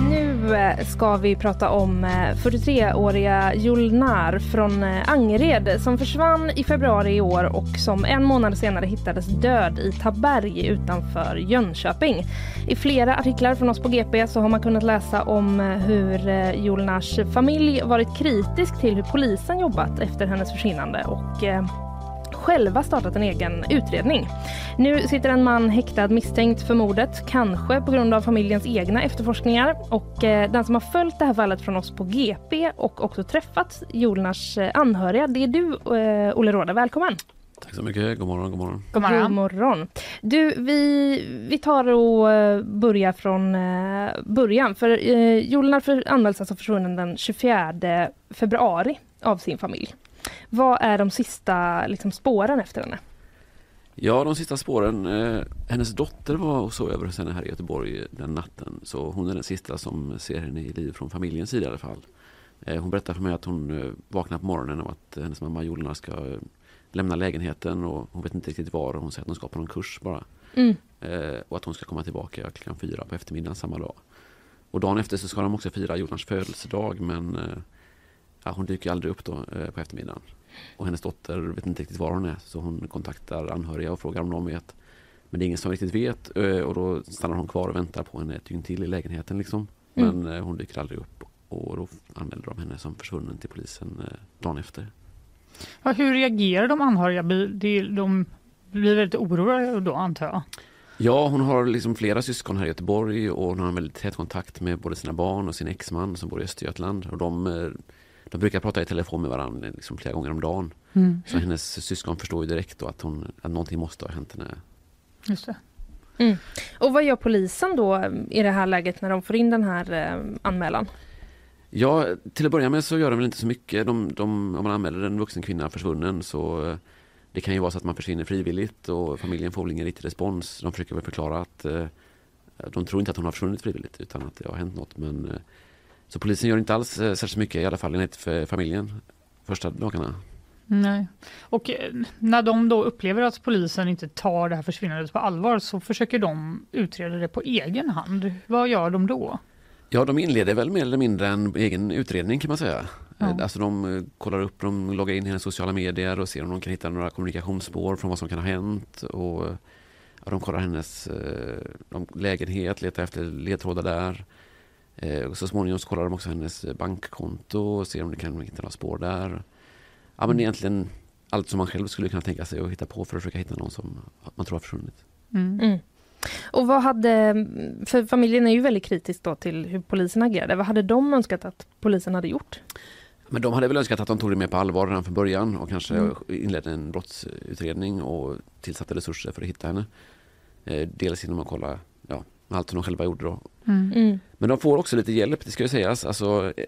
Nu eh, ska vi prata om eh, 43-åriga Julnar från eh, Angered som försvann i februari i år och som en månad senare hittades död i Taberg utanför Jönköping. I flera artiklar från oss på GP så har man kunnat läsa om eh, hur eh, Julnars familj varit kritisk till hur polisen jobbat efter hennes försvinnande och eh, själva startat en egen utredning. Nu sitter en man häktad misstänkt för mordet, kanske på grund av familjens egna efterforskningar. Och eh, den som har följt det här fallet från oss på GP och också träffat Jolnars eh, anhöriga, det är du, eh, Olle Råde. Välkommen!
Tack så mycket. God morgon, god morgon.
God
God
morgon.
morgon. Du, vi, vi tar och eh, börjar från eh, början. För eh, Jolnar för, anmäls alltså försvunnen den 24 februari av sin familj. Vad är de sista liksom, spåren efter henne?
Ja, de sista spåren. Eh, hennes dotter var och sov över hos henne här i Göteborg den natten. Så hon är den sista som ser henne i liv från familjens sida i alla fall. Eh, hon berättar för mig att hon eh, vaknar på morgonen av att hennes mamma Jolna ska eh, lämna lägenheten och hon vet inte riktigt var. och Hon säger att hon ska på någon kurs bara.
Mm.
Eh, och att hon ska komma tillbaka klockan fyra på eftermiddagen samma dag. Och dagen efter så ska de också fira Jolans födelsedag men eh, ja, hon dyker aldrig upp då eh, på eftermiddagen. Och hennes dotter vet inte riktigt var hon är så hon kontaktar anhöriga och frågar om de vet. Men det är ingen som riktigt vet eh, och då stannar hon kvar och väntar på henne ett dygn till i lägenheten liksom. Men eh, hon dyker aldrig upp och då anmäler de henne som försvunnen till polisen eh, dagen efter.
Ja, hur reagerar de anhöriga? Blir- De, de blir väldigt oroliga då antar jag.
Ja, hon har liksom flera syskon här i Göteborg och hon har en väldigt tät kontakt med både sina barn och sin exman som bor i Östergötland. Och de, eh, de brukar prata i telefon med varandra liksom flera gånger om dagen.
Mm.
Så hennes syskon förstår ju direkt då att, hon, att någonting måste ha hänt henne.
Just det.
Och vad gör polisen då eh, i det här läget när de får in den här eh, anmälan?
Ja, till att börja med så gör de väl inte så mycket. De, de, om man anmäler en vuxen kvinna försvunnen så eh, det kan ju vara så att man försvinner frivilligt och familjen får väl ingen riktig respons. De försöker väl förklara att eh, de tror inte att hon har försvunnit frivilligt utan att det har hänt något. Men, eh, så polisen gör inte alls eh, särskilt mycket, i alla fall enligt eh, familjen, första dagarna.
Nej. Och eh, när de då upplever att polisen inte tar det här försvinnandet på allvar så försöker de utreda det på egen hand. Vad gör de då?
Ja, de inleder väl mer eller mindre en egen utredning kan man säga.
Ja.
Eh, Alltså de eh, kollar upp, de loggar in i hennes sociala medier och ser om de kan hitta några kommunikationsspår från vad som kan ha hänt. Och, eh, ja, de kollar hennes eh, de, lägenhet, letar efter ledtrådar där. Eh, och så småningom så kollar de också hennes eh, bankkonto och ser om de kan hitta några spår där. Ja, men egentligen allt som man själv skulle kunna tänka sig och hitta på för att försöka hitta någon som man tror har försvunnit.
Mm.
Mm. Och vad hade, för familjen är ju väldigt kritisk då till hur polisen agerade. Vad hade de önskat att polisen hade gjort?
Men de hade väl önskat att de tog det mer på allvar redan från början och kanske inledde en brottsutredning och tillsatte resurser för att hitta henne. Eh, Dels genom att kolla ja, allt som de själva gjorde då.
Mm.
Men de får också lite hjälp, det ska ju sägas. Alltså, eh,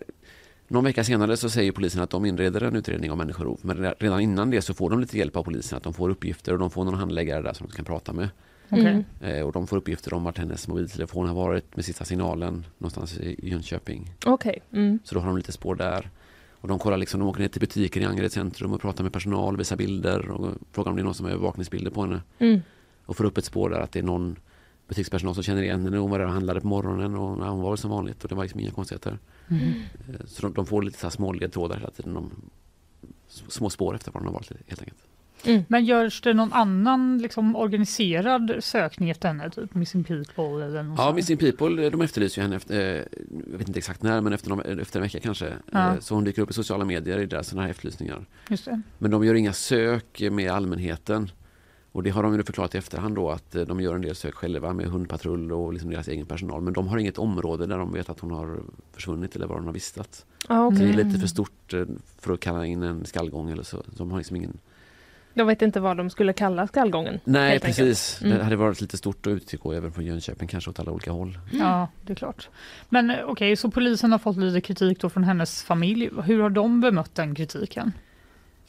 någon vecka senare så säger polisen att de inleder en utredning om människorov. Men re- redan innan det så får de lite hjälp av polisen. Att de får uppgifter och de får någon handläggare där som de kan prata med.
Okej.
Mm.
Eh, Och de får uppgifter om vart hennes mobiltelefon har varit med sista signalen någonstans i Jönköping.
Okej. Mm.
Så då har de lite spår där. Och de kollar liksom, de åker ner till butiker i Angered centrum och pratar med personal, visar bilder och frågar om det är någon som har övervakningsbilder på henne.
Mm.
Och får upp ett spår där att det är någon butikspersonal som känner igen henne. Hon var där och handlade på morgonen och ja, hon var väl som vanligt och det var liksom inga konstigheter.
Mm.
Eh, Så de, de får lite så här små ledtrådar hela tiden. De, små spår efter var de har varit helt enkelt.
Men görs det någon annan liksom, organiserad sökning efter henne? Typ Missing People eller något
Ja,
sånt?
Missing People, eh, de efterlyser ju henne efter, eh, jag vet inte exakt när, men efter, någon, efter en vecka kanske.
Ja.
Eh, Så hon dyker upp i sociala medier i deras sådana här efterlysningar.
Just det.
Men de gör inga sök med allmänheten. Och det har de ju förklarat i efterhand då att eh, de gör en del sök själva med hundpatrull och liksom deras egen personal. Men de har inget område där de vet att hon har försvunnit eller var hon har vistats.
Ja, okej.
Så Det är lite för stort eh, för att kalla in en skallgång eller så. De har liksom ingen...
Jag vet inte vad de skulle kalla skallgången.
Nej,
helt enkelt.
precis.
Mm.
Det hade varit lite stort att utgå även från Jönköping kanske åt alla olika håll.
Ja, det är klart. Men eh, okej, så polisen har fått lite kritik då från hennes familj. Hur har de bemött den kritiken?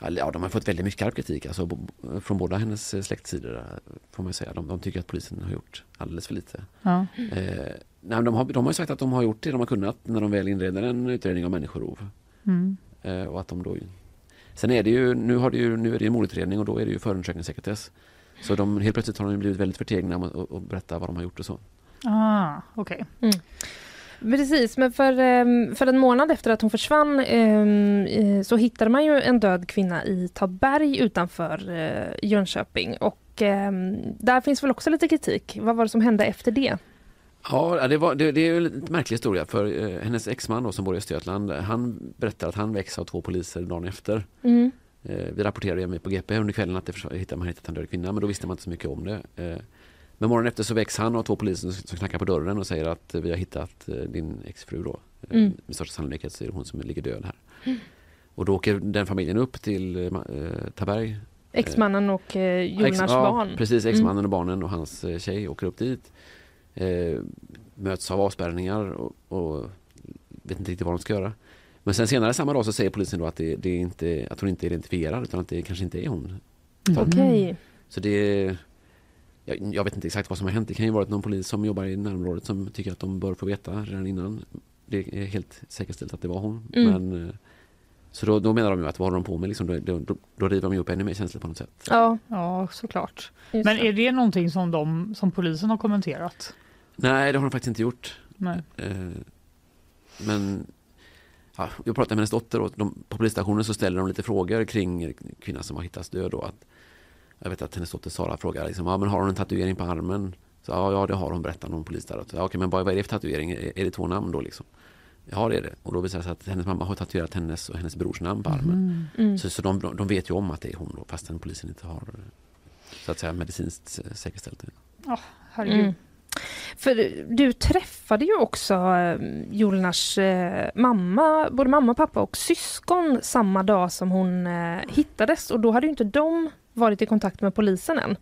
Eller, Ja, de har fått väldigt mycket skarp kritik alltså, bo- från båda hennes eh, släktsidor. eh, Får man ju säga. De, de tycker att polisen har gjort alldeles för lite.
Ja.
Eh, nej, men de, har, de har ju sagt att de har gjort det de har kunnat när de väl inleder en utredning av människorov.
Mm.
Eh, och att de då, sen är det ju, nu, har det ju, nu är det ju en mordutredning och då är det ju förundersökningssekretess. Så de, helt plötsligt har de ju blivit väldigt förtegna om att och, och berätta vad de har gjort och så.
Ah, okej.
Precis, men för, ehm, för en månad efter att hon försvann ehm, eh, så hittade man ju en död kvinna i Taberg utanför eh, Jönköping. Och ehm, där finns väl också lite kritik. Vad var det som hände efter det?
Ja, det, var, det, det är ju en lite märklig historia för eh, hennes exman då, som bor i Östergötland, han berättar att han väcks av två poliser dagen efter.
Mm.
Eh, vi rapporterade ju på GP under kvällen att det försvann- hittade- man hittat en död kvinna men då visste man inte så mycket om det. Eh, men morgonen efter så väcks han av två poliser som som knackar på dörren och säger att eh, vi har hittat eh, din exfru då. Eh,
Mm.
Med största sannolikhet så är det hon som ligger död här. Och då åker den familjen upp till eh, Ma- eh, Taberg.
Exmannen och eh, Jonas
Ex-
barn. Mm.
Precis, exmannen och barnen och hans eh, tjej åker upp dit. Eh, möts av avspärrningar och, och vet inte riktigt vad de ska göra. Men sen senare samma dag så säger polisen då att, det, det är inte, att hon inte är identifierad utan att det kanske inte är hon.
Okej.
Så det jag, jag vet inte exakt vad som har hänt. Det kan ju vara att någon polis som jobbar i närområdet som tycker att de bör få veta redan innan. Det är helt säkerställt att det var hon.
Mm.
Men, eh, så då, då menar de ju att vad håller de på med? Liksom, då, då, då, då river de ju upp ännu mer känslor på något sätt.
Ja,
Ja, såklart.
just
Men
det.
är det någonting som, de, som polisen har kommenterat?
Nej, det har de faktiskt inte gjort.
Nej.
Eh, Men ja, jag pratade med hennes dotter och de, på polisstationen så ställer de lite frågor kring kvinnan som har hittats död. Då, att, jag vet att hennes dotter Sara frågar liksom, ja, men har hon en tatuering på armen. Så, ja, ja, det har hon, berättar någon polis där. Och så, Ja, okej, men vad vad är det för tatuering? Är, är det två namn då? Liksom? Ja, det är det. Och då visar det sig att hennes mamma har tatuerat hennes och hennes brors namn på armen.
Mm.
Så, så de, de vet ju om att det är hon då, fastän polisen inte har eh, så att säga, medicinskt eh, säkerställt det.
Herregud.
Mm. För du träffade ju också eh, Jolnars eh, mamma, både mamma, pappa och syskon samma dag som hon eh, hittades och då hade ju inte de varit i kontakt med polisen än.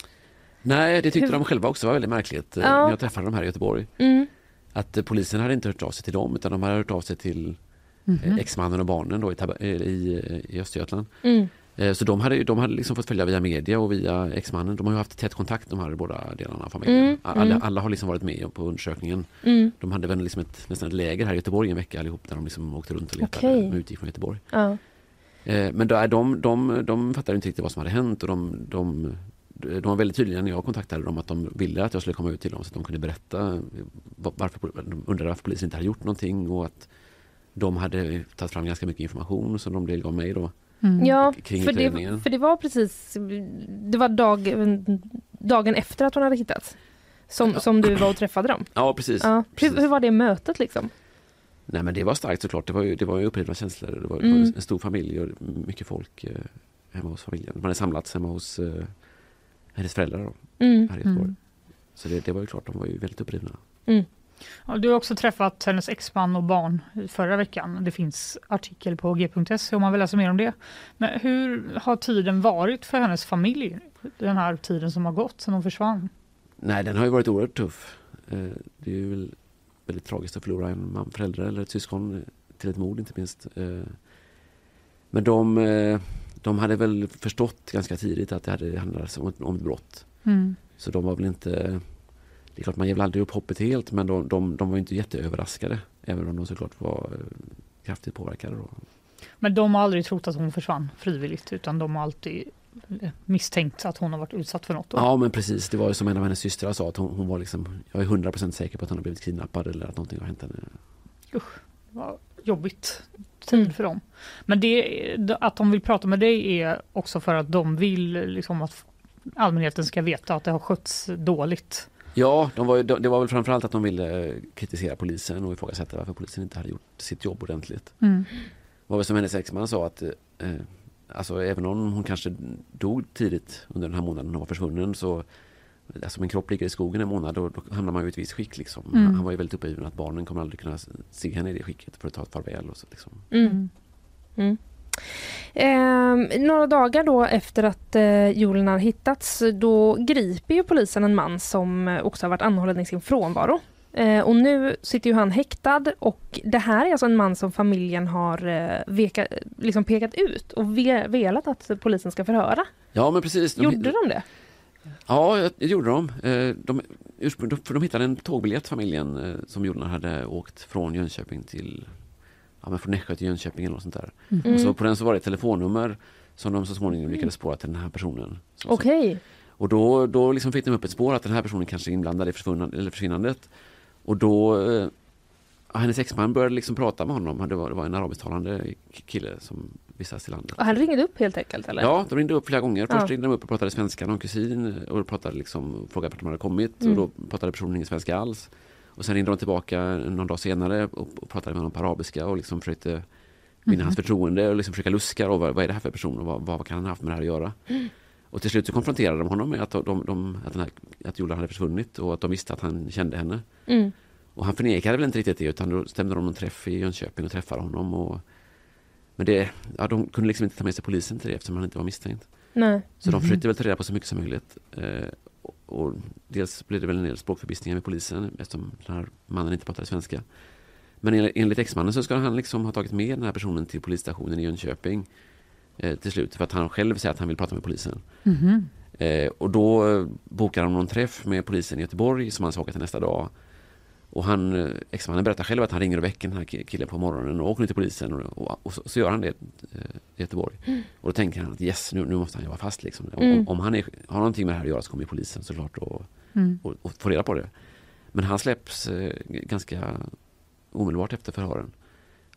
Nej, det tyckte
Hur-
de själva också var väldigt märkligt eh,
Ja.
när jag träffade dem här i Göteborg.
Mm.
att eh, polisen hade inte hört av sig till dem utan de hade hört av sig till mm exmannen och barnen då i, Tab- eh, i, eh, i Östergötland.
Mm.
Eh, Så de hade, ju- de hade liksom fått följa via media och via exmannen. De har ju haft tät kontakt de här båda delarna av familjen.
Mm,
A- Alla,
mm.
alla har liksom varit med på undersökningen.
Mm.
De hade väl liksom ett, nästan ett läger här i Göteborg en vecka allihop där de liksom åkte runt och letade.
Okej.
De utgick från Göteborg.
Ja.
Eh, Men då är de, de, de fattade inte riktigt vad som hade hänt och de, de de var väldigt tydliga när jag kontaktade dem att de ville att jag skulle komma ut till dem så att de kunde berätta varför, de undrade varför polisen inte hade gjort någonting och att de hade tagit fram ganska mycket information som de delgav mig då.
Mm.
Ja,
Kring
för det,
utredningen.
för det var precis, det var dag, dagen efter att hon hade hittats. Som, som du var och träffade dem.
Ja, precis.
Ja, hur,
precis.
hur var det mötet liksom?
Nej men det var starkt såklart. Det var ju, det var ju upplevda känslor. Det var det
Mm.
var en stor familj och mycket folk eh, hemma hos familjen. Man hade samlats hemma hos eh, hennes föräldrar då,
Mm.
här i Göteborg.
Mm.
Så det, det var ju klart, de var ju väldigt upprivna.
Ja, Du har också träffat hennes exman och barn i förra veckan. Det finns artikel på g.se om man vill läsa mer om det. Men hur har tiden varit för hennes familj? Den här tiden som har gått sedan hon försvann.
Nej, den har ju varit oerhört tuff. Eh, det är ju väl väldigt tragiskt att förlora en man, förälder eller ett syskon eh, till ett mord inte minst. Eh, men de, eh, de hade väl förstått ganska tidigt att det hade handlat om ett, om ett brott.
Mm.
Så de var väl inte... Det är klart man ger väl aldrig upp hoppet helt men de, de, de var ju inte jätteöverraskade. Även om de såklart var eh, kraftigt påverkade. Då.
Men de har aldrig trott att hon försvann frivilligt utan de har alltid eh, misstänkt att hon har varit utsatt för något. då.
Ja men precis, det var ju som en av hennes systrar sa att hon, hon var liksom... Jag är 100% säker på att hon har blivit kidnappad eller att någonting har hänt henne.
Det var jobbigt tid
Mm.
för dem. Men det, att de vill prata med dig är också för att de vill liksom att allmänheten ska veta att det har skötts dåligt.
Ja, de var, ju- de, det var väl framförallt att de ville eh, kritisera polisen och ifrågasätta varför polisen inte hade gjort sitt jobb ordentligt.
Mm.
Det var väl som hennes exman sa att eh, eh, alltså, även om hon kanske dog tidigt under den här månaden hon var försvunnen så Alltså min kropp ligger i skogen en månad och då hamnar man ju i ett visst skick. Liksom.
Mm.
Han var ju väldigt uppgiven att barnen kommer aldrig kunna se henne i det skicket för att ta ett farväl. Och så, liksom.
Mm. Mm. Ehm, några dagar då efter att eh, Julen har hittats då griper ju polisen en man som eh, också har varit anhållen i sin frånvaro. Eh, och nu sitter ju han häktad och det här är alltså en man som familjen har eh, veka, liksom pekat ut och ve, velat att polisen ska förhöra.
Ja men precis. De-
Gjorde de det?
Ja, jag- det gjorde de. Eh, de ursprung, de- för de hittade en tågbiljett, familjen, eh, som Jonas hade åkt från Jönköping till... Ja, men från Nässjö till Jönköping eller något sånt där. Och så på den så var det ett telefonnummer som de så småningom lyckades spåra till den här personen. Så, så,
Okej.
och då, då liksom fick de upp ett spår att den här personen kanske är inblandad i försvunnan- eller försvinnandet. Och då... Eh, ja, hennes exman började liksom prata med honom. Det var, det var en arabisktalande k- kille som vistas i landet.
Och han ringde upp helt enkelt eller?
Ja, de ringde upp flera gånger. Först
Ja.
ringde de upp och pratade svenska, någon kusin, och pratade liksom, frågade vart de hade kommit
Mm.
och då pratade personen ingen svenska alls. Och sen ringde de tillbaka någon dag senare och, och pratade med honom på arabiska och liksom försökte vinna
Mhm.
hans förtroende och liksom försöka luska då, vad, vad är det här för person och vad, vad kan han ha haft med det här att göra?
Mm.
Och till slut så konfronterade de honom med att, de, de, att, den här, att Jolan hade försvunnit och att de visste att han kände henne.
Mm.
Och han förnekade väl inte riktigt det utan då stämde de någon träff i Jönköping och träffade honom. Och, men det, ja, de kunde liksom inte ta med sig polisen till det eftersom han inte var misstänkt.
Nej.
Så
Mm-hmm.
de försökte väl ta reda på så mycket som möjligt. Eh, och, och dels blev det väl en del språkförbistringar med polisen eftersom den här mannen inte pratade svenska. Men enligt, enligt exmannen så ska han liksom ha tagit med den här personen till polisstationen i Jönköping eh, till slut för att han själv säger att han vill prata med polisen.
Mm-hmm.
Eh, och då eh, bokar han någon träff med polisen i Göteborg som han ska åka till nästa dag. Och han, eh, exmannen berättar själv att han ringer och väcker den här ki- killen på morgonen och åker nu till polisen och, och, och så, så gör han det eh, i Göteborg. Och då tänker han att yes, nu, nu måste han jobba fast liksom. Om,
Mm.
om- om han är, har någonting med det här att göra så kommer ju polisen såklart och,
Mm.
och, och få reda på det. Men han släpps eh, g- ganska omedelbart efter förhören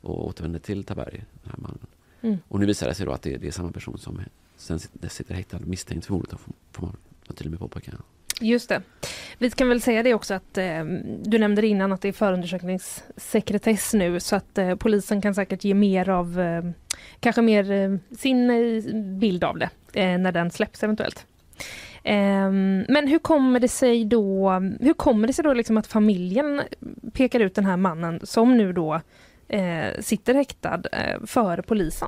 och återvänder till Taberg, den här mannen.
Mm.
Och nu visar det sig då att det, det är samma person som sen sit- dess sitter häktad misstänkt för mordet, får- får man till och med påpeka.
Just det. Vi kan väl säga det också att eh, du nämnde det innan att det är förundersökningssekretess nu så att eh, polisen kan säkert ge mer av eh, kanske mer eh, sin eh, bild av det eh, när den släpps eventuellt. Eh, men hur kommer det sig då, hur kommer det sig då liksom att familjen pekar ut den här mannen som nu då eh, sitter häktad eh, före polisen?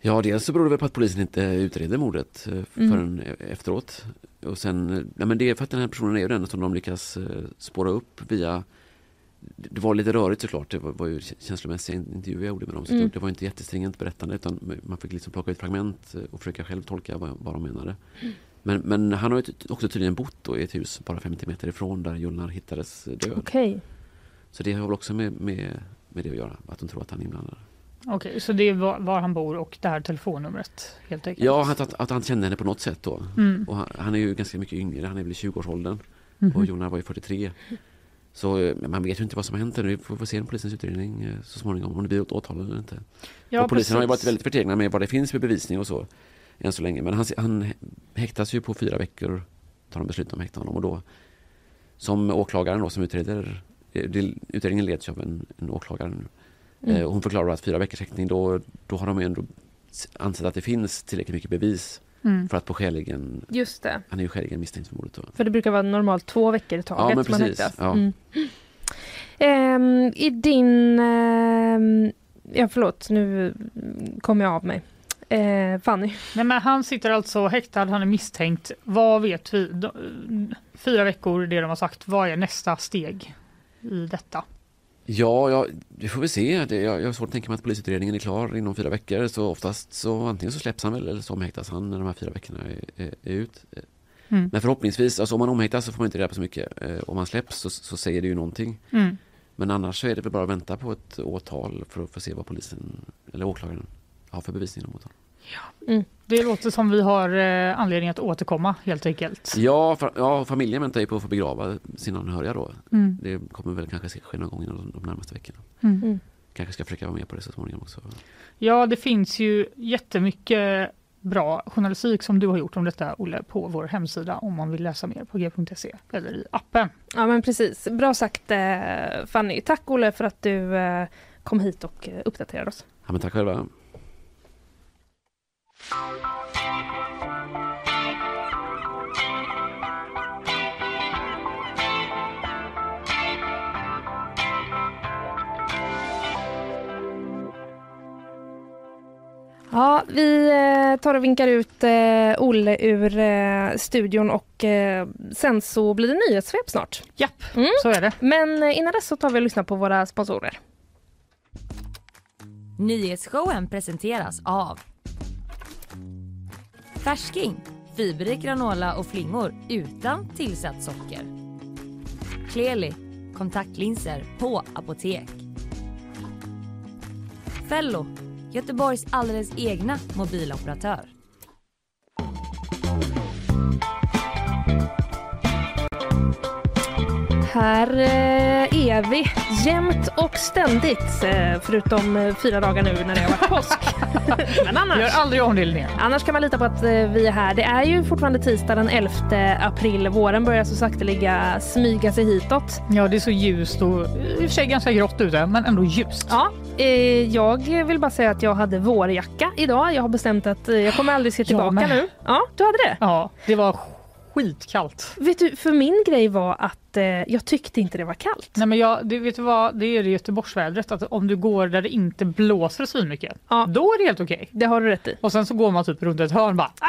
Ja, dels så beror det väl på att polisen inte utreder mordet eh,
Mm.
förrän e- efteråt. Och sen, eh, nej men det är för att den här personen är ju den som de lyckas eh, spåra upp via det var lite rörigt såklart, det var, var ju k- känslomässiga in- intervjuer jag gjorde med dem. Så
Mm.
det, det var inte jättestringent berättande utan man fick liksom plocka ut fragment eh, och försöka själv tolka vad, vad de menade.
Mm.
Men, men han har ju ty- också tydligen bott då i ett hus bara 50 meter ifrån där Julnar hittades eh, död.
Okej.
Så det har väl också med, med, med det att göra, att de tror att han är inblandad.
Okej, så det är var, var han bor och det här telefonnumret helt enkelt?
Ja, att, att, att han kände henne på något sätt då.
Mm.
Och han, han är ju ganska mycket yngre, han är väl i 20-årsåldern.
Mhm.
Och Jonas var ju 43. Så eh, man vet ju inte vad som har hänt ännu. Vi får, får se en polisens utredning eh, så småningom, om det blir åt- åtal eller inte.
Ja,
och polisen har ju varit
precis.
väldigt förtegna med vad det finns för bevisning och så. Än så länge. Men han, han häktas ju på fyra veckor. Tar de beslut om att häkta honom. Och då, som åklagaren då, som utreder. eh, det- Utredningen leds ju av en, en åklagare nu.
Mm.
Eh, och Hon förklarar att fyra veckors häktning, då, då har de ju ändå s- ansett att det finns tillräckligt mycket bevis
Mm.
för att på skäligen,
Just det.
han är ju skäligen misstänkt för mordet då.
För det brukar vara normalt två veckor i taget.
Ja, men
som man
precis.
häktas.
Ja.
Mm. Ehm, I din... ehm, ja, förlåt. Nu kommer jag av mig. Eh, Fanny.
Nej, men han sitter alltså häktad, han är misstänkt. Vad vet vi? De- Fyra veckor, det de har sagt. Vad är nästa steg i detta?
Ja, ja, det får vi se. Det, jag, jag har svårt att tänka mig att polisutredningen är klar inom fyra veckor. Så oftast så antingen så släpps han väl eller så omhäktas han när de här fyra veckorna är, är, är ut.
Mm.
Men förhoppningsvis, alltså om man omhäktas så får man inte reda på så mycket. Eh, Om man släpps så, så säger det ju någonting.
Mm.
Men annars så är det väl bara att vänta på ett åtal för att få se vad polisen eller åklagaren har för bevisning om åtal.
Det låter som vi har eh, anledning att återkomma helt enkelt.
Ja, fa- ja, familjen väntar ju på att få begrava sina anhöriga då.
Mm.
Det kommer väl kanske ske någon gång inom de- de närmaste veckorna.
Mm.
Mm.
Kanske ska försöka vara med på det så småningom också.
Ja, det finns ju jättemycket bra journalistik som du har gjort om detta, Olle, på vår hemsida om man vill läsa mer på g.se eller i appen.
Ja, men precis. Bra sagt, eh, Fanny. Tack, Olle, för att du eh, kom hit och eh, uppdaterade oss.
Ja, men tack själva.
Ja, vi eh, tar och vinkar ut eh, Olle ur eh, studion och eh, sen så blir det nyhetssvep snart.
Japp,
Mm.
så är det.
Men eh, innan dess så tar vi och lyssnar på våra sponsorer.
Nyhetsshowen presenteras av Färsking, fiberrik granola och flingor utan tillsatt socker. Kleli, kontaktlinser på apotek. Fello, Göteborgs alldeles egna mobiloperatör.
Här eh, är vi jämt och ständigt, eh, förutom eh, fyra dagar nu när det har varit påsk. Men annars.
Gör aldrig om det, Linnea.
Annars kan man lita på att eh, vi är här. Det är ju fortfarande tisdag den 11 april. Våren börjar så sakteliga smyga sig hitåt.
Ja, det är så ljust och i och för sig ganska grått ute, men ändå ljust.
Ja, eh, jag vill bara säga att jag hade vårjacka idag. Jag har bestämt att eh, jag kommer aldrig se tillbaka
med.
nu. Ja, du hade det?
Ja, det var skitkallt.
Vet du, för min grej var att eh, jag tyckte inte det var kallt.
Nej, men jag, det, vet du vad, det är det Göteborgsvädret, att om du går där det inte blåser svinmycket,
Ja.
då är det helt okej.
Det har du rätt i.
Och sen så går man typ runt ett hörn bara. "Ah!"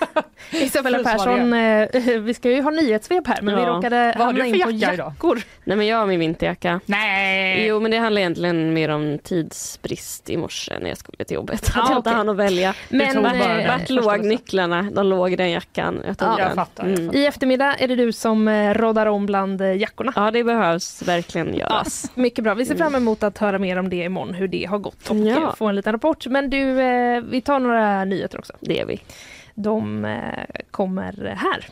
Isabella
För att svara
Persson, eh, vi ska ju ha nyhetssvep här men vi
Ja.
råkade
Vad har du
hamna
för
in på
jacka idag?
jackor.
Nej men jag har min vinterjacka.
Nej!
Jo men det handlar egentligen mer om tidsbrist i morse när jag skulle till jobbet. Att
Ah,
Ja,
jag inte
okej.
hann att välja.
tog
Men
bara
eh,
den.
Vart
förstår
låg
det.
nycklarna? De låg i den jackan. Jag tog
Ja,
den.
jag fattar, jag
Mm.
fattar.
i eftermiddag är det du som eh, roddar om bland eh, jackorna.
Ja det behövs verkligen göras.
Mycket bra. Vi ser fram emot att höra mer om det imorgon, hur det har gått och
Mm. Ja.
eh, få en liten rapport. Men du, eh, vi tar några nyheter också.
Det är vi.
De eh, kommer här.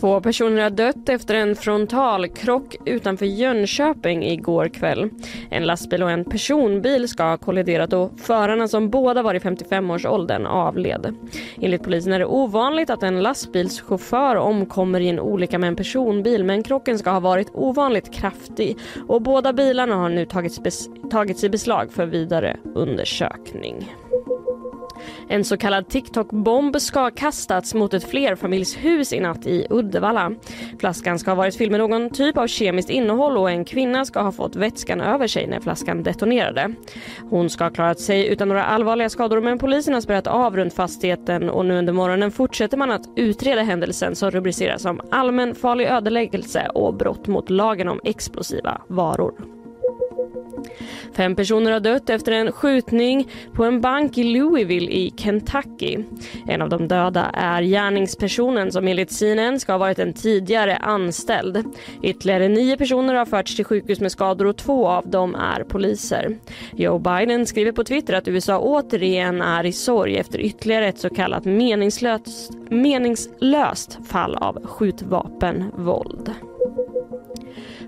Två personer har dött efter en frontalkrock utanför Jönköping igår kväll. En lastbil och en personbil ska ha kolliderat och förarna som båda var i 55-årsåldern avled. Enligt polisen är det ovanligt att en lastbilschaufför omkommer i en olycka med en personbil men krocken ska ha varit ovanligt kraftig och båda bilarna har nu tagits, bes- tagits i beslag för vidare undersökning. En så kallad TikTok-bomb ska ha kastats mot ett flerfamiljshus i natt i Uddevalla. Flaskan ska ha varit fylld med någon typ av kemiskt innehåll och en kvinna ska ha fått vätskan över sig när flaskan detonerade. Hon ska ha klarat sig utan några allvarliga skador men polisen har spärrat av runt fastigheten och nu under morgonen fortsätter man att utreda händelsen som rubriceras som allmän farlig ödeläggelse och brott mot lagen om explosiva varor. Fem personer har dött efter en skjutning på en bank i Louisville i Kentucky. En av de döda är gärningspersonen som enligt CNN ska ha varit en tidigare anställd. Ytterligare nio personer har förts till sjukhus med skador och två av dem är poliser. Joe Biden skriver på Twitter att USA återigen är i sorg efter ytterligare ett så kallat meningslöst, meningslöst fall av skjutvapenvåld.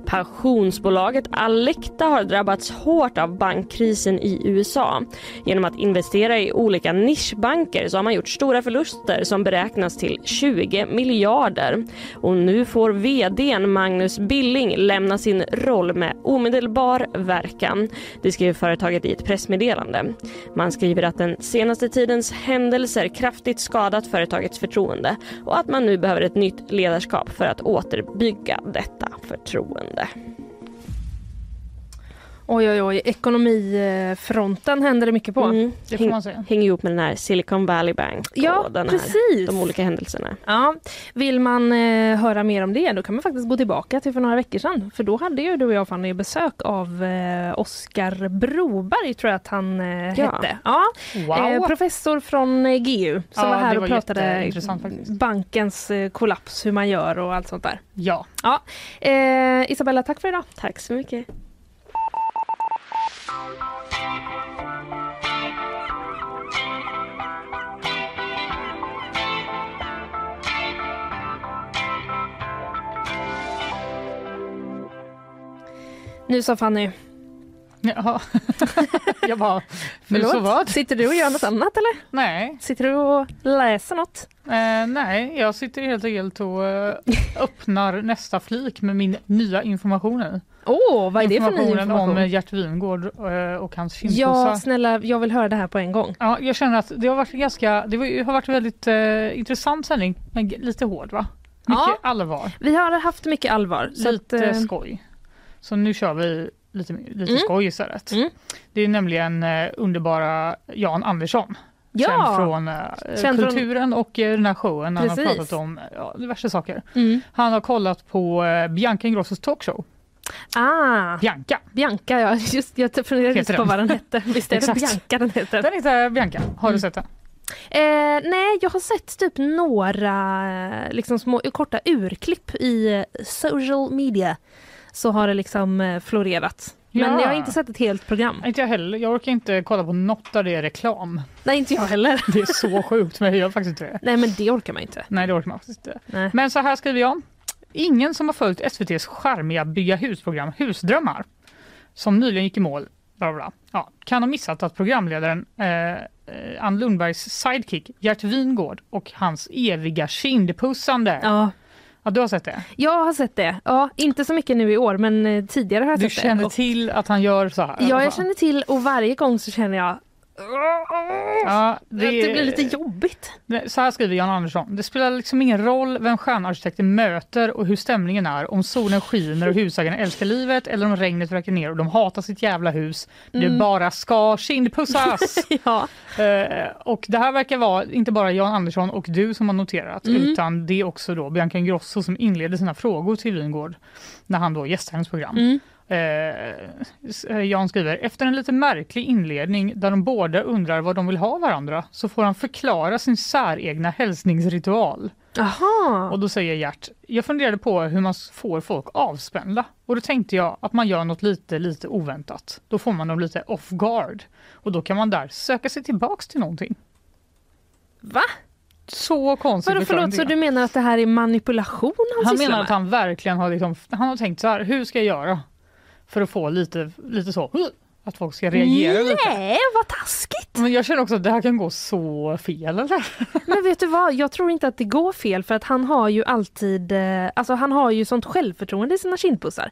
Pensionsbolaget Alecta har drabbats hårt av bankkrisen i USA. Genom att investera i olika nischbanker så har man gjort stora förluster som beräknas till 20 miljarder. Och nu får vdn Magnus Billing lämna sin roll med omedelbar verkan. Det skriver företaget i ett pressmeddelande. Man skriver att den senaste tidens händelser kraftigt skadat företagets förtroende och att man nu behöver ett nytt ledarskap för att återbygga detta förtroende.
Oj, oj, oj. Ekonomifronten händer det mycket på.
Mm.
Det får
Häng-
man säga.
Hänger ihop med den här Silicon Valley Bank
Ja,
och den här,
precis.
de olika händelserna.
Ja, vill man eh, höra mer om det då kan man faktiskt gå tillbaka till för några veckor sedan. För då hade ju du och jag Fanny besök av eh, Oskar Broberg tror jag att han eh,
Ja.
hette. Ja, eh, professor från eh, GU som
Ja,
var här
det
och
var
pratade
jätteintressant faktiskt.
bankens eh, kollaps, hur man gör och allt sånt där.
Ja.
Ja, eh, Isabella tack för idag.
Tack så mycket.
Nu sa Fanny,
Jaha. Jag bara, nu så
förlåt,
vad?
sitter du och gör något annat eller?
Nej,
Sitter du och läser något?
eh, nej, jag sitter helt enkelt och eh, öppnar nästa flik med min nya information i.
Åh, vad är det för ny
Informationen
information?
om eh, Gert Wingård eh, och hans
Ja,
kindpussar.
snälla, jag vill höra det här på en gång.
Ja, jag känner att det har varit en ganska, det var ju- har varit en väldigt eh, intressant sändning, men g- lite hård va? Mycket
Ja.
allvar,
Vi har haft mycket allvar. Så att,
lite
eh,
skoj. Så nu kör vi lite, lite
Mm.
skoj istället.
Mm.
Det är nämligen eh, underbara Jan Andersson.
ja.
Känd från eh,
Känd från-
kulturen och eh, den här showen. Han har
Precis.
pratat om ja, diverse saker.
Mm.
Han har kollat på eh, Bianca Ingrossos talkshow.
Ah,
Bianca.
Bianca ja. Just, jag funderade just
Heter
på
den.
vad den hette. Visst är det
Exakt.
Bianca den heter?
Den heter Bianca. Har
Mm.
du sett den?
Eh, nej, jag har sett typ några liksom, små korta urklipp i eh, social media. Så har det liksom eh, florerat. Men
Ja.
jag har inte sett ett helt program.
Nej, Inte jag heller. Jag orkar inte kolla på något där det är reklam.
Nej, inte jag heller.
Det är så sjukt men jag gör faktiskt inte det.
Nej, men det orkar man inte.
Nej det orkar man faktiskt inte.
Nej.
Men så här skriver jag. Ingen som har följt SVTs charmiga bygga husprogram Husdrömmar som nyligen gick i mål bla bla, bla, ja, kan ha missat att programledaren eh, eh, Ann Lundbergs sidekick Gert Wingård och hans eviga kindpussande.
Ja,
Ja, du har sett det?
jag har sett det. Ja, inte så mycket nu i år, men eh, tidigare har jag
Du
sett
känner
det. Och-
till att han gör så här?
Ja, jag känner till och varje gång så känner jag
Ja,
det, att det blir lite jobbigt.
Nej, Så här skriver Jan Andersson. Det spelar liksom ingen roll vem stjärnarkitekten möter och hur stämningen är. Om solen skiner och husägarna älskar livet eller om regnet vräker ner och de hatar sitt jävla hus. Det bara ska kindpussas!
Ja.
eh, och det här verkar vara inte bara Jan Andersson och du som har noterat utan det är också då Bianca Ingrosso som inleder sina frågor till Wingård när han då gästar hennes program. Eh, s- eh, Jan skriver, efter en lite märklig inledning där de båda undrar vad de vill ha varandra så får han förklara sin säregna hälsningsritual.
Aha.
Och då säger Gert, jag funderade på hur man s- får folk avspända och då tänkte jag att man gör något lite, lite oväntat. Då får man dem lite off guard och då kan man där söka sig tillbaks till någonting.
Va?
Så konstigt.
Vadå,
förklaring
förlåt,
tycker
så
jag.
du menar att det här är manipulation han,
Han
sysslar
menar att
med?
han verkligen har, liksom, han har tänkt så här, hur ska jag göra för att få lite, lite så, "Huh", att folk ska reagera lite.
Nej, vad taskigt!
Men jag känner också att det här kan gå så fel eller?
Men vet du vad, jag tror inte att det går fel för att han har ju alltid, eh, alltså han har ju sånt självförtroende i sina kindpussar.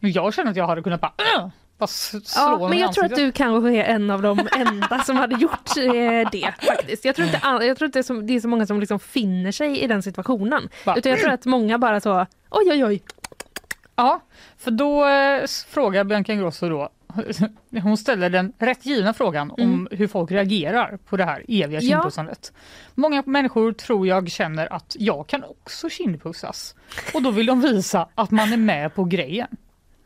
Men Jag känner att jag hade kunnat bara, "Åh!" bara s- slå
Ja,
honom
men
i
jag tror att
ansiktet.
du kanske är en av de enda som hade gjort eh, det faktiskt. Jag tror inte, all, jag tror inte det, är så, det är så många som liksom finner sig i den situationen.
Va?
Utan jag tror att många bara så, oj oj oj.
Ja, för då eh, s- frågar Bianca Ingrosso då, hon ställer den rätt givna frågan om hur folk reagerar på det här eviga
Mm. Ja.
kindpussandet. Många människor tror jag känner att jag kan också kindpussas och då vill de visa att man är med på grejen.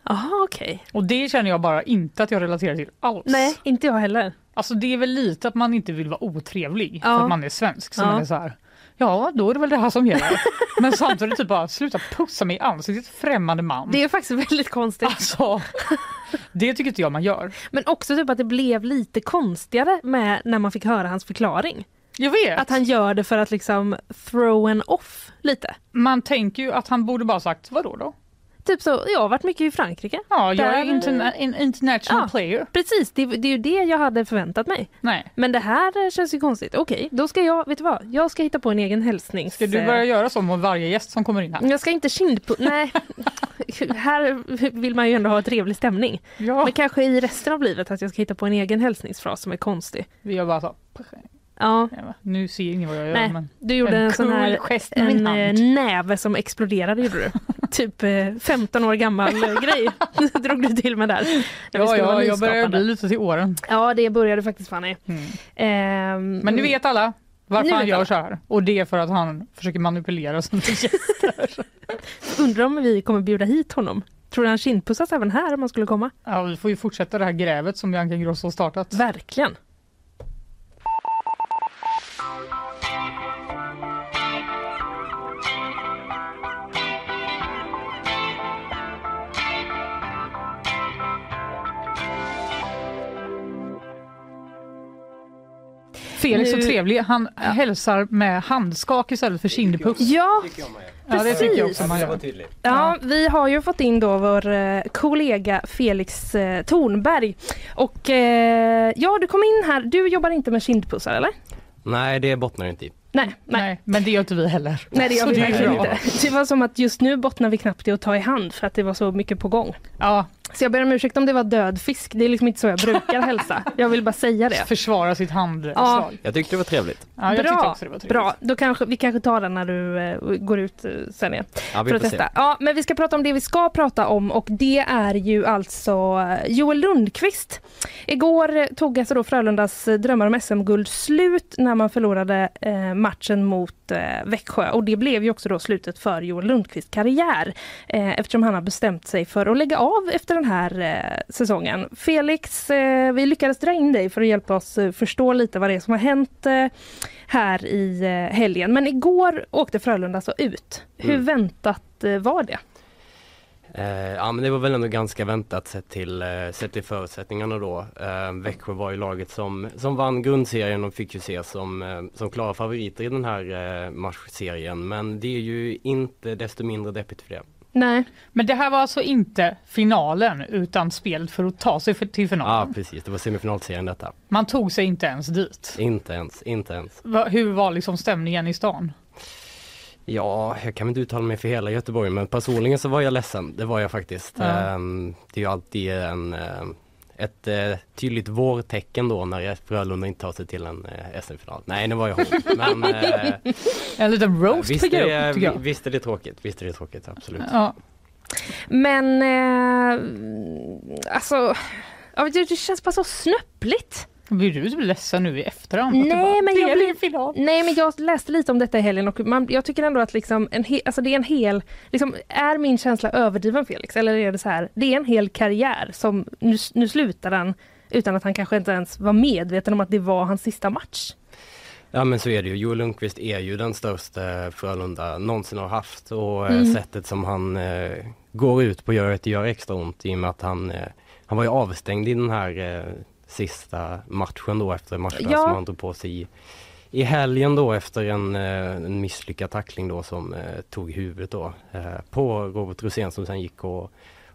Jaha, okej.
Och det känner jag bara inte att jag relaterar till alls.
Nej, inte jag heller.
Alltså det är väl lite att man inte vill vara otrevlig
Ja.
för att man är svensk. Så
Ja.
man är så här, ja då är det väl det här som gäller. Men samtidigt typ bara sluta pussa mig i ansiktet främmande man.
Det är faktiskt väldigt konstigt.
Alltså, det tycker inte jag man gör.
Men också typ att det blev lite konstigare med när man fick höra hans förklaring.
Jag vet.
Att han gör det för att liksom throw en off lite.
Man tänker ju att han borde bara sagt vadå då?
Typ så, jag har varit mycket i Frankrike.
Ja, jag är
Där-
interna- en international
Ja.
player.
Precis, det, det är ju det jag hade förväntat mig.
Nej.
Men det här eh, känns ju konstigt. Okej, då ska jag, vet du vad? Jag ska hitta på en egen hälsning.
Ska du börja göra så mot varje gäst som kommer in här?
Jag ska inte kindpu... Nej, här vill man ju ändå ha trevlig stämning.
Ja.
Men kanske i resten av livet att jag ska hitta på en egen hälsningsfras som är konstig.
Vi gör bara så.
Ja,
här, Nu ser ingen vad jag gör
nej.
men
Du gjorde en, sån
cool
här
gest med
en
min
eh,
hand.
näve som exploderade gjorde du. typ eh, 15 år gammal eh, grej drog du till med där. När vi
Ja,
skulle
ja
vara
jag börjar
nyskapande.
bli lite till åren.
Ja, det började faktiskt Fanny.
Mm.
Ehm,
Men nu vet alla varför
Nu
han
vet
gör
alla.
så här. Och det är för att han försöker manipulera sina gäster.
Undrar om vi kommer bjuda hit honom. Tror du han kindpussas även här om han skulle komma?
Ja, vi får ju fortsätta det här grävet som Bianca Ingrosso har startat.
Verkligen.
Felix
Nu-
så trevlig. Han hälsar med handskak istället för kindpuss.
Ja,
Ja, det tycker jag också
precis.
man gör.
Ja, vi har ju fått in då vår eh, kollega Felix eh, Tornberg. Och eh, ja, du kom in här. Du jobbar inte med kindpussar eller?
Nej, det bottnar inte i.
Nej, nej.
Nej, men det gör inte vi heller.
Nej, det gör
Så
vi
det är
verkligen
bra.
inte. Det var som att just nu bottnar vi knappt i att ta i hand för att det var så mycket på gång.
Ja,
Så jag ber om ursäkt om det var död fisk. Det är liksom inte så jag brukar hälsa. Jag vill bara säga det.
försvara sitt handslag.
Ja,
Ja,
Jag tyckte det var trevligt.
jag tyckte
bra,
också det var trevligt.
bra. Då kanske, vi kanske tar den när du eh, går ut eh, sen igen.
Ja, vi
för att
får se.
testa. Ja, men vi ska prata om det vi ska prata om och det är ju alltså Joel Lundqvist. Igår eh, tog alltså då Frölundas eh, drömmar om SM-guld slut när man förlorade eh, matchen mot eh, Växjö och det blev ju också då slutet för Joel Lundqvists karriär eh, eftersom han har bestämt sig för att lägga av efter den här eh, säsongen. Felix, eh, vi lyckades dra in dig för att hjälpa oss eh, förstå lite vad det är som har hänt eh, här i eh, helgen. Men igår åkte Frölunda alltså ut. Hur
Mm.
väntat eh, var det?
Eh, ja, men det var väl ändå ganska väntat sett till, eh, sett till förutsättningarna då. Eh, Växjö var ju laget som, som vann grundserien och fick ju ses som, eh, som klara favoriter i den här eh, matchserien. Men det är ju inte desto mindre deppigt för det.
Nej.
Men det här var alltså inte finalen utan spelet för att ta sig för, till
Ja, ah,
finalen.
precis. Det var semifinalserien detta.
Man tog sig inte ens dit.
Inte ens, inte ens.
Va, hur var liksom stämningen i stan?
Ja, jag kan väl inte uttala mig för hela Göteborg men personligen så var jag ledsen. Det var jag faktiskt.
Ja.
Eh, det är ju alltid en, eh, ett eh, tydligt vårtecken då när Frölunda inte tar sig till en eh, SM-final. Nej, det var jag hård. Men eh,
En liten roast
visst,
på grupp,
är
tycker
det,
jag.
visst är det tråkigt. Visst är det tråkigt, absolut.
Ja,
Men eh, alltså, ja, det, det känns bara så snöpligt.
blir du typ ledsen nu i efterhand?
Nej,
Att du bara,
men jag
det
blir-
blir final.
Nej men jag läste lite om detta i helgen och man, jag tycker ändå att liksom en he, alltså det är en hel, liksom, är min känsla överdriven Felix? Eller är det så här, det är en hel karriär som nu, nu slutar den utan att han kanske inte ens var medveten om att det var hans sista match.
Ja men så är det ju. Joel Lundqvist är ju den största Frölunda någonsin har haft och eh,
Mm.
sättet som han eh, går ut på gör att det gör extra ont i och med att han, eh, han var ju avstängd i den här eh, sista matchen då efter matchen
Ja.
som han tog på sig i, i helgen då efter en, eh, en misslyckad tackling då som eh, tog huvudet då eh, på Robert Rosén som sen gick och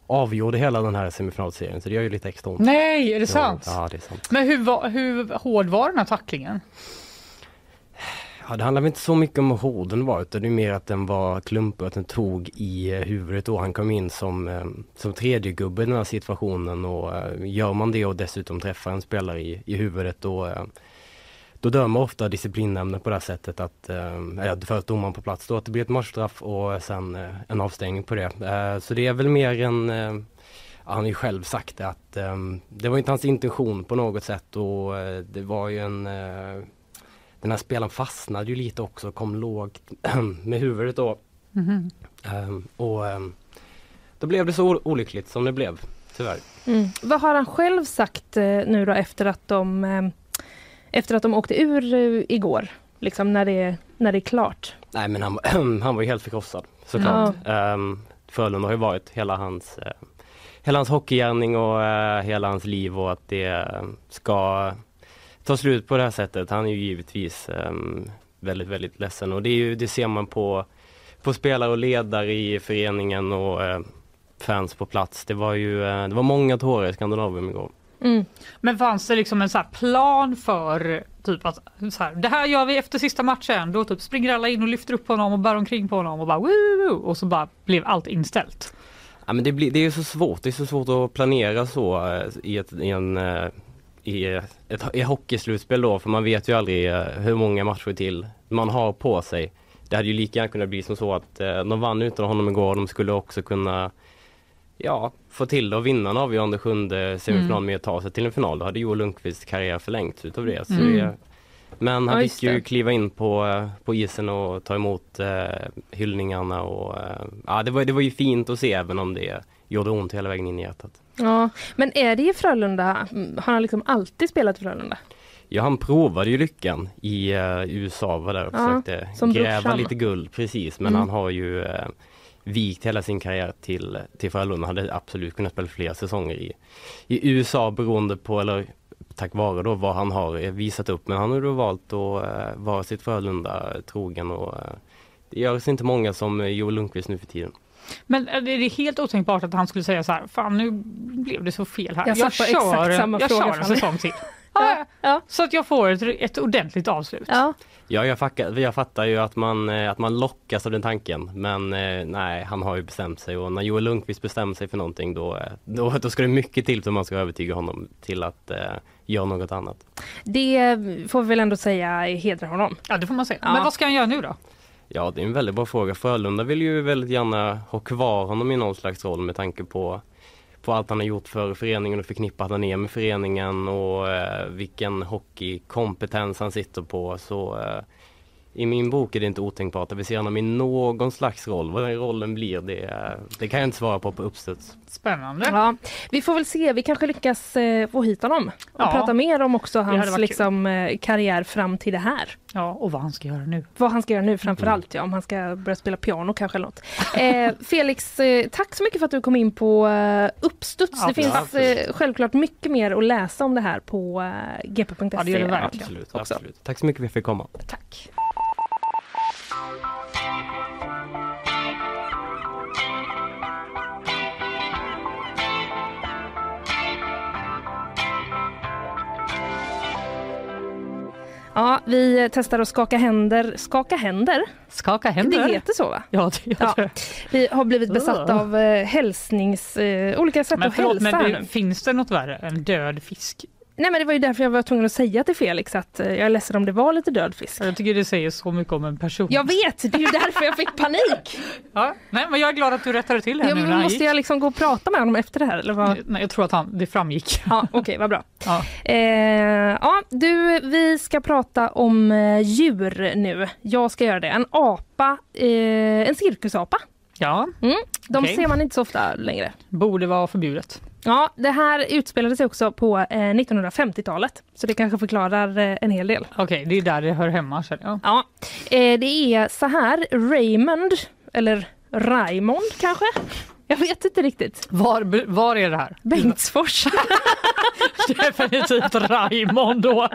avgjorde hela den här semifinalserien så det gör ju lite extra ont.
Nej, är Mm, det sant?
Ja, det är sant.
Men hur, var, hur hård var den här tacklingen?
Ja, det handlar väl inte så mycket om hur hård den var utan det är mer att den var klumpig och att den tog i eh, huvudet då. Han kom in som, eh, som tredje gubbe i den här situationen och eh, gör man det och dessutom träffar en spelare i, i huvudet då, eh, då dömer ofta disciplinnämnden på det här sättet att, äh, först domaren på plats då, att det blir ett matchstraff och sen eh, en avstängning på det. Eh, så det är väl mer en eh, Ja, han har ju själv sagt det att eh, det var inte hans intention på något sätt och eh, det var ju en eh, den här spelaren fastnade ju lite också, kom lågt med huvudet då. Ehm, och ehm,
då blev det så o- olyckligt som det blev, tyvärr.
Mm. Vad har han själv sagt eh, nu då efter att de, eh, efter att de åkte ur eh, igår? Liksom när det, när det är klart.
Nej men han, han var ju helt förkrossad såklart.
Eh,
Ehm, Frölunda har ju varit hela hans, eh, hela hans hockeygärning och eh, hela hans liv och att det eh, ska ta slut på det här sättet. Han är ju givetvis ehm, väldigt, väldigt ledsen och det, är ju, det ser man på, på spelare och ledare i föreningen och eh, fans på plats. Det var ju eh, det var många tårar i Skandinavien igår.
Men fanns det liksom en så här plan för typ att så här, det här gör vi efter sista matchen. Då typ springer alla in och lyfter upp honom och bär omkring på honom och bara woo, woo, och så bara blev allt inställt.
Ja, men det, blir, det är ju så svårt, det är så svårt att planera så eh, i ett, i en, eh, i ett, i ett hockeyslutspel då för man vet ju aldrig eh, hur många matcher till man har på sig. Det hade ju lika gärna kunnat bli som så att eh, de vann utan honom igår, de skulle också kunna ja, få till det och vinna en avgörande sjunde semifinal
Mm.
med att ta sig till en final. Då hade Joel Lundqvists karriär förlängts utav det. Så
Mm.
det men han
Ja, just
fick ju
det.
kliva in på, eh, på isen och ta emot eh, hyllningarna och eh, ja, det, var, det var ju fint att se även om det gjorde ont hela vägen in i hjärtat.
Ja, men är det i Frölunda? Mm, Har han liksom alltid spelat i Frölunda?
Ja, han provade ju lyckan i eh, USA, var där och
Ja,
försökte
som
gräva
brorsan.
lite guld precis men
Mm.
han har ju eh, vikt hela sin karriär till, till Frölunda. Han hade absolut kunnat spela flera säsonger i, i USA beroende på, eller tack vare då vad han har eh, visat upp. Men han har då valt att eh, vara sitt Frölunda trogen och eh, det görs inte många som eh, Joel Lundqvist nu för tiden.
Men är det helt otänkbart att han skulle säga så här, fan nu blev det så fel här.
Jag satt på exakt samma
jag
fråga
kör en
fram i-
säsong till. Ja, Så att jag får ett, ett ordentligt avslut.
Ja.
Ja, jag fattar, jag fattar ju att man, eh, att man lockas av den tanken. Men eh, nej, han har ju bestämt sig och när Joel Lundqvist bestämmer sig för någonting då, eh, då, då ska det mycket till för att man ska övertyga honom till att eh, göra något annat.
Det eh, får vi väl ändå säga eh, hedrar honom.
Ja, det får man säga.
Ja.
Men vad ska han göra nu då?
Ja, det är en väldigt bra fråga. Frölunda vill ju väldigt gärna ha kvar honom i någon slags roll med tanke på, på allt han har gjort för föreningen och förknippat han är med föreningen och eh, vilken hockeykompetens han sitter på. Så eh, i min bok är det inte otänkbart att vi ser honom i någon slags roll. Vad den rollen blir, det, eh, det kan jag inte svara på på uppstuds.
Spännande.
Ja, vi får väl se, vi kanske lyckas eh, få hit honom och
Ja.
prata mer om också
hade
hans
varit
liksom, eh, karriär fram till det här.
Ja, och vad han ska göra nu.
Vad han ska göra
Mm.
nu framförallt, ja, om han ska börja spela piano kanske eller något. Eh, Felix, eh, tack så mycket för att du kom in på eh, Uppstuds.
Ja,
det finns
absolut.
eh, självklart mycket mer att läsa om det här på eh, gp.se.
Ja, det gör det verkligen.
Absolut,
Också.
absolut. Tack så mycket för att jag fick komma.
Tack. Ja, vi testar att skaka händer. Skaka händer?
Skaka händer.
Det heter så va?
Ja, det gör
Ja.
det.
Vi har blivit besatta
Ugh.
av eh, hälsnings, eh, olika sätt
Men
att
förlåt,
hälsa.
men
här
det,
nu.
finns det något värre än död fisk?
Nej men det var ju därför jag var tvungen att säga till Felix att eh, jag är ledsen om det var lite död fisk.
Jag tycker det säger så mycket om en person.
Jag vet, det är ju därför jag fick panik.
Ja, nej, men jag är glad att du rättade till det
Ja,
nu
men
när han
måste
gick.
jag liksom gå och prata med honom efter det här eller vad?
Nej, jag tror att han, det framgick.
Ja, okej, vad bra.
Ja.
Eh, ja, du, vi ska prata om eh, djur nu. Jag ska göra det. En apa, eh, en cirkusapa.
ja,
De
Okej.
ser man inte så ofta längre.
borde vara förbjudet.
Ja, det här utspelade sig också på eh, 1950-talet, så det kanske förklarar eh, en hel del.
Okej, det är där det hör hemma känner jag.
Ja, eh, det är så här, Raymond, eller Raymond kanske? Jag vet inte riktigt.
Var, be- var är det här?
Bengtsfors.
Definitivt Raymond då.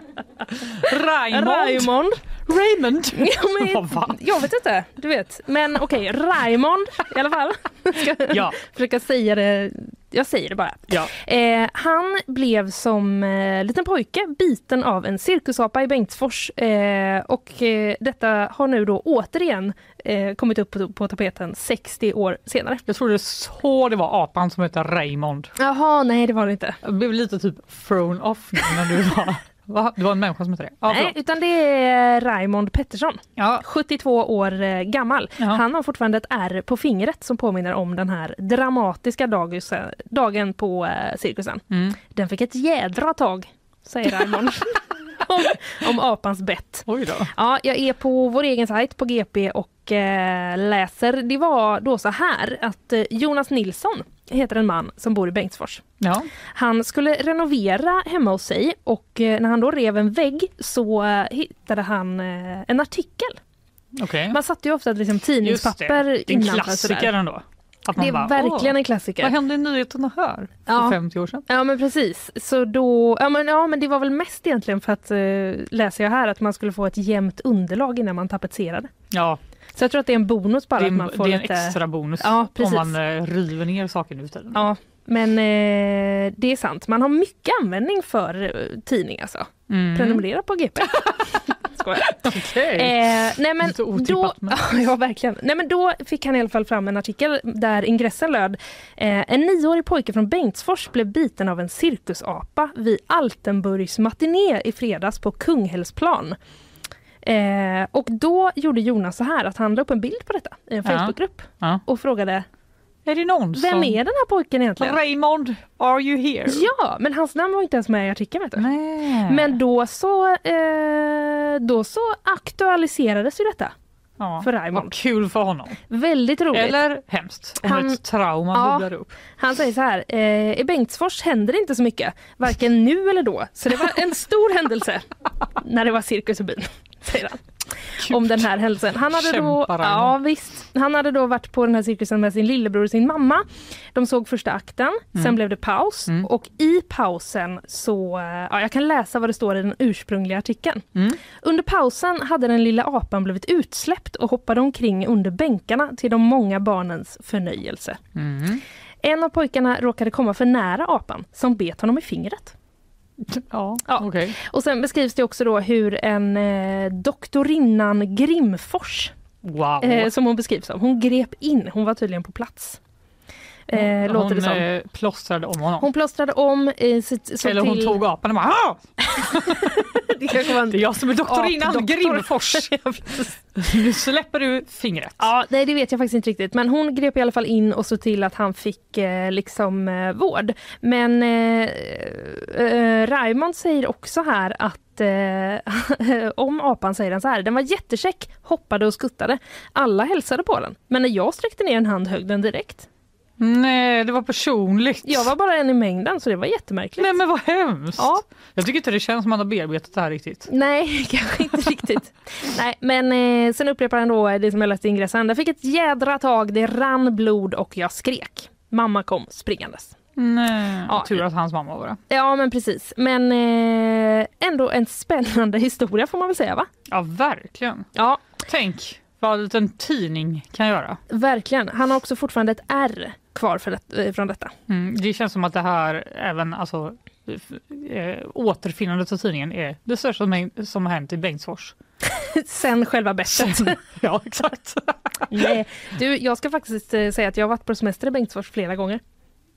Raymond.
Raymond.
Raymond.
Ja, men,
Vad fan?
jag vet inte, du vet. Men okej, Raymond i alla fall. Ska
Ja.
försöka säga det. Jag säger det bara.
Ja.
Eh, han blev som eh, liten pojke biten av en cirkusapa i Bengtsfors. Eh, och eh, detta har nu då återigen eh, kommit upp på, på tapeten 60 år senare.
Jag trodde så det var apan som hette Raymond.
Jaha, nej det var det inte.
Jag blev lite typ thrown off nu när du var... Va? Det var en människa som hette det? Ja,
Nej,
förlåt.
utan det är Raymond Pettersson.
ja,
72 år eh, gammal.
Jaha.
Han har fortfarande ett ärr på fingret som påminner om den här dramatiska dagus, dagen på eh, cirkusen.
Mm.
Den fick ett jädra tag, säger Raymond. om, om apans bett.
oj då.
Ja, jag är på vår egen sajt på GP och och eh, läser, det var då så här att eh, Jonas Nilsson heter en man som bor i Bengtsfors.
Ja.
Han skulle renovera hemma hos sig och eh, när han då rev en vägg så eh, hittade han eh, en artikel.
Okej.
Man satte ju ofta liksom
Just det. Det
tidningspapper
är en
innanför sådär.
klassiker ändå. Att man
Det är
bara,
verkligen
"Åh,
en klassiker.
Vad hände i nyheterna här för
Ja.
50 år sedan?
Ja men precis. Så då, ja, men, ja men det var väl mest egentligen för att eh, läser jag här att man skulle få ett jämnt underlag innan man tapetserade.
Ja,
Så jag tror att det är en bonus bara
det är,
att man får
det är en
lite...
extra bonus
Ja,
om
precis.
man eh, river ner saker nu istället.
Ja, men eh, det är sant. Man har mycket användning för eh, tidning alltså.
Mm.
Prenumerera på GP.
Okej.
Eh, nej men
Lite
då,
otippat, men-
ja, verkligen. Nej, men då fick han i alla fall fram en artikel där ingressen löd eh, En nioårig pojke från Bengtsfors blev biten av en cirkusapa vid Altenburgs matiné i fredags på Kungälvsplan. Eh, och då gjorde Jonas så här att han la upp en bild på detta i en
Ja.
Facebookgrupp
Ja.
och frågade
Är det någon
Vem
som...
är den här pojken egentligen?
Raymond, are you here?
Ja, men hans namn var inte ens med i artikeln vet du.
Nej.
Men då så, eh, då så aktualiserades ju detta
ja.
för Raymond.
Vad kul för honom.
Väldigt roligt.
Eller hemskt, om
Han-
ett trauma
Ja.
bubblar upp.
Han säger så här, eh, i Bengtsfors händer det inte så mycket, varken nu eller då. Så det var en stor händelse när det var cirkus i byn, säger han. Om den här händelsen. Han hade, då,
Kämpar han.
ja, visst, han hade då varit på den här cirkusen med sin lillebror och sin mamma. De såg första akten,
Mm.
sen blev det paus och i pausen så, eh, ja, jag kan läsa vad det står i den ursprungliga artikeln.
Mm.
Under pausen hade den lilla apan blivit utsläppt och hoppade omkring under bänkarna till de många barnens förnöjelse.
Mm.
En av pojkarna råkade komma för nära apan som bet honom i fingret.
Ja,
Ja.
okej.
Och sen beskrivs det också då hur en eh, doktorinnan Grimfors,
Wow.
eh, som hon beskrivs som, hon grep in, hon var tydligen på plats. Eh, låter
hon
det som.
eh, plåstrade om honom.
Hon plåstrade om, eh, sitt, såg
Eller hon
till...
tog apan och bara "Ah,
det kanske var en
Det är jag som är doktorinnan
Apdoktor.
Grimfors. nu släpper du fingret.
Ja, nej, det vet jag faktiskt inte riktigt. Men hon grep i alla fall in och såg till att han fick eh, liksom eh, vård. Men eh, eh, Raymond säger också här att eh, om apan säger han så här, den var jättekäck, hoppade och skuttade. Alla hälsade på den, men när jag sträckte ner en hand högg den direkt.
Nej, det var personligt.
Jag var bara en i mängden så det var jättemärkligt.
Nej men vad hemskt.
Ja.
Jag tycker inte det känns som att man har bearbetat det här riktigt.
Nej, kanske inte riktigt. Nej, men eh, sen upprepar han då det som jag läste i ingressen. Jag fick ett jädra tag, det rann blod och jag skrek. Mamma kom springandes.
Nej.
Ja.
Tur att hans mamma var det.
Ja, men precis. Men eh, ändå en spännande historia får man väl säga, va?
Ja, verkligen.
Ja,
Tänk vad en liten tidning kan göra.
verkligen. Han har också fortfarande ett R kvar för det, eh, från detta.
Mm, det känns som att det här även alltså, eh, återfinnandet av tidningen är det största som, hänt- som har hänt i Bengtsfors.
Sen själva bettet.
ja, exakt.
Nej, du, jag ska faktiskt eh, säga att jag har varit på semester i Bengtsfors flera gånger.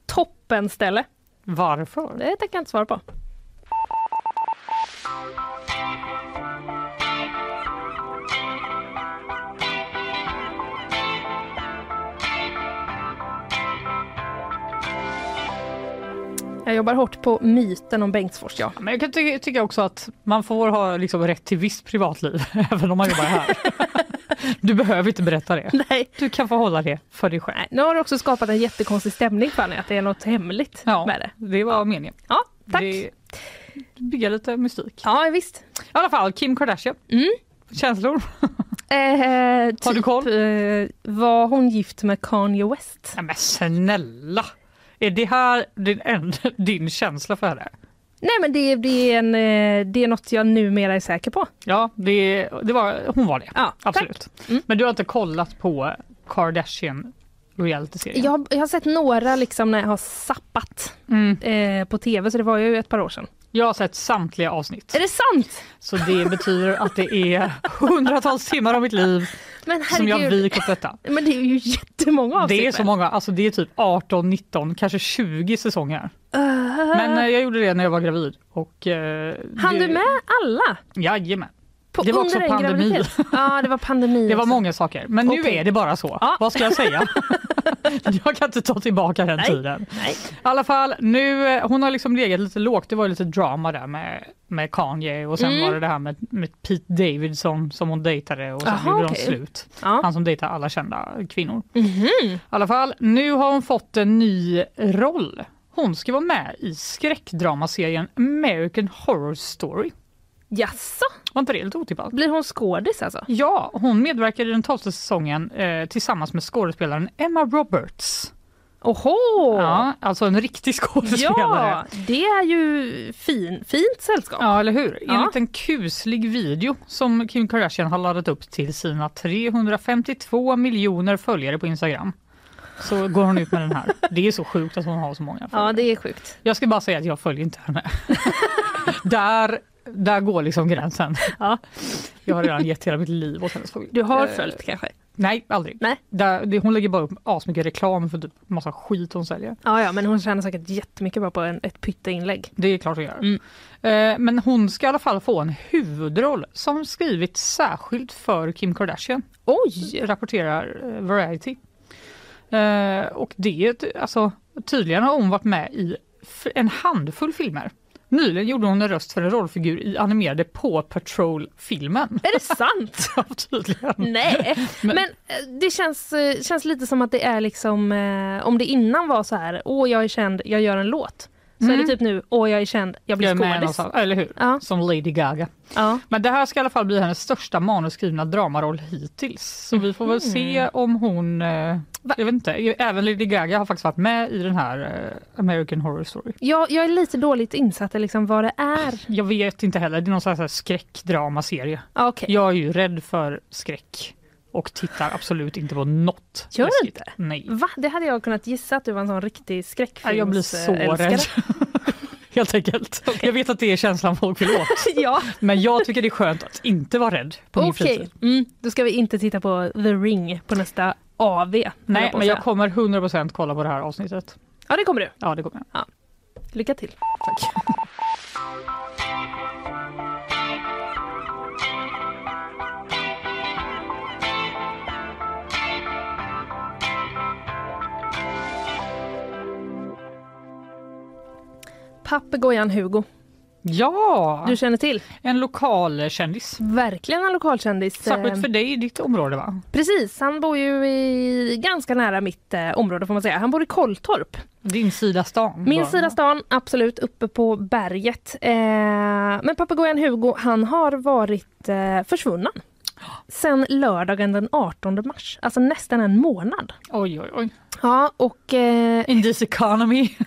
Toppen ställe.
Varför?
Det tänker jag inte svara på. Jag jobbar hårt på myten om Bengtsfors, ja.
Men jag kan ty- tycka också att man får ha liksom rätt till visst privatliv även om man jobbar här. du behöver inte berätta det.
Nej.
Du kan få hålla det för dig själv.
Nej, nu har du också skapat en jättekonstig stämning Fanny, att det är något hemligt
Ja,
med det.
det var meningen.
Ja, tack.
Det, bygga lite mystik.
Ja, visst.
I alla fall, Kim Kardashian. Känslor?
Eh,
Har du koll?
Eh, var hon gift med Kanye West?
Nej, men snälla! Är det här din, en- din känsla för henne?
Nej, men det, det, är en, eh, det är något jag numera är säker på.
Ja, det, det var, hon var det.
Ja,
Absolut. Men du har inte kollat på Kardashian reality-serien?
Jag, har- jag har sett några liksom när jag har sappat
Mm.
eh, på tv, så det var ju ett par år sedan.
Jag har sett samtliga avsnitt.
Är det sant?
Så det betyder att det är hundratals timmar av mitt liv
Men
som jag
herregud,
vikt åt detta.
men det är ju jättemånga avsnitt.
Det är så
väl?
många, alltså det är typ 18, 19, kanske 20 säsonger.
Ah.
Men eh, jag gjorde det när jag var gravid. Och, eh,
hann
det,
du med alla?
Jajamän.
På,
Det var
under
också
en
pandemi.
graviditet. Ja, det var pandemi.
Det var
också.
många saker, men nu
Okej.
är det bara så. Vad ska jag säga? jag kan inte ta tillbaka den tiden.
Nej.
I alla fall, nu, eh, hon har liksom legat lite lågt. Det var ju lite drama där med, med Kanye och sen
Mm.
var det det här med, med Pete Davidson som hon dejtade och sen
Aha,
gjorde de
okej.
slut.
Ja.
Han som dejtar alla kända kvinnor.
Mhm.
I alla fall, nu har hon fått en ny roll. Hon ska vara med i skräckdramaserien American Horror Story.
Jaså?
Var inte det lite otippat?
Blir hon skådis alltså?
Ja, hon medverkar i den tolfte säsongen eh, tillsammans med skådespelaren Emma Roberts.
Oho!
Ja, alltså en riktig skådespelare.
Ja, det är ju fin, fint sällskap.
Ja, eller hur?
Ja.
Enligt en kuslig video som Kim Kardashian har laddat upp till sina 352 miljoner följare på Instagram så går hon ut med den här. Det är så sjukt att hon har så många följare.
Ja, det är sjukt.
Jag ska bara säga att jag följer inte henne. där, där går liksom gränsen.
Ja.
Jag har redan gett hela mitt liv åt hennes följ.
Du har
Eh,
följt kanske?
Nej, aldrig.
Nej.
Där, det, hon lägger bara upp asmycket reklam för typ massa skit hon säljer.
Ja, ja, men hon tjänar säkert jättemycket bara på en, ett pytteinlägg.
Det är klart hon gör.
Mm.
Eh, men hon ska i alla fall få en huvudroll som skrivits särskilt för Kim Kardashian. Oj! Rapporterar eh, Variety. Eh, och det, är ett- alltså, tydligen har hon varit med i f- en handfull filmer. Nyligen gjorde hon en röst för en rollfigur i animerade Paw Patrol-filmen.
Är det sant?
Ja, tydligen.
Nej, men, eh, det känns, eh, känns lite som att det är liksom, eh, om det innan var så här, åh jag är känd, jag gör en låt. Så är det typ nu, åh jag är känd, jag
Mm. Jag är
blir
med
skådis.
någonstans, eller hur?
Ja.
Som Lady Gaga.
Ja.
Men det här ska i alla fall bli hennes största manusskrivna dramaroll hittills. Så vi får väl
Mm.
se om hon... Eh, jag vet inte. Även Lady Gaga har faktiskt varit med i den här eh, American Horror Story.
Jag, jag är lite dåligt insatt i liksom vad det är.
Jag vet inte heller. Det är någon sån här skräckdramaserie.
Ja, Okej,
Jag är ju rädd för skräck och tittar absolut inte på något.
Gör du
läskigt.
inte?
Nej.
va? Det hade jag kunnat gissa att du var en sån riktig skräckfilms... eh,
Nej, Jag blir så rädd. Helt enkelt. Jag vet att det är känslan folk vill åt.
ja,
Men jag tycker det är skönt att inte vara rädd på min
okej.
fritid.
Mm, då ska vi inte titta på The Ring på nästa AV. höll
Nej,
jag på att
men jag
säga.
kommer 100% kolla på det här avsnittet.
Ja, det kommer du.
Ja, det kommer jag.
Lycka till. Papegojan Hugo,
Ja!
du känner till.
En lokal kändis.
Verkligen en lokalkändis.
Särskilt
Eh,
för dig i ditt område va?
Precis, han bor ju i ganska nära mitt eh, område får man säga. Han bor i Kolltorp.
Din sida stan.
Min
bara.
sida stan, absolut, uppe på berget. Eh, men papegojan Hugo, han har varit eh, försvunnen sen lördagen den 18 mars, alltså nästan en månad.
Oj oj oj.
Ja, och eh,
In this economy.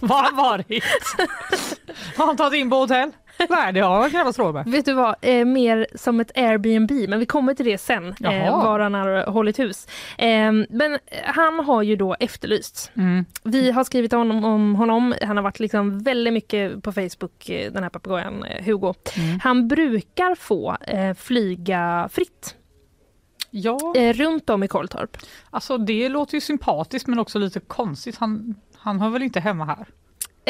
Vad har han varit? Har han tagit in på hotell? Nej det har han knappast råd med.
vet du vad, eh, mer som ett Airbnb, men vi kommer till det sen, eh,
Jaha.
var han har hållit hus. Eh, men han har ju då efterlysts.
Mm.
Vi har skrivit om, om honom. Han har varit liksom väldigt mycket på Facebook, eh, den här papegojan eh, Hugo.
Mm.
Han brukar få eh, flyga fritt
Ja,
eh, runt om i Kolltorp.
alltså det låter ju sympatiskt men också lite konstigt. Han, han hör väl inte hemma här?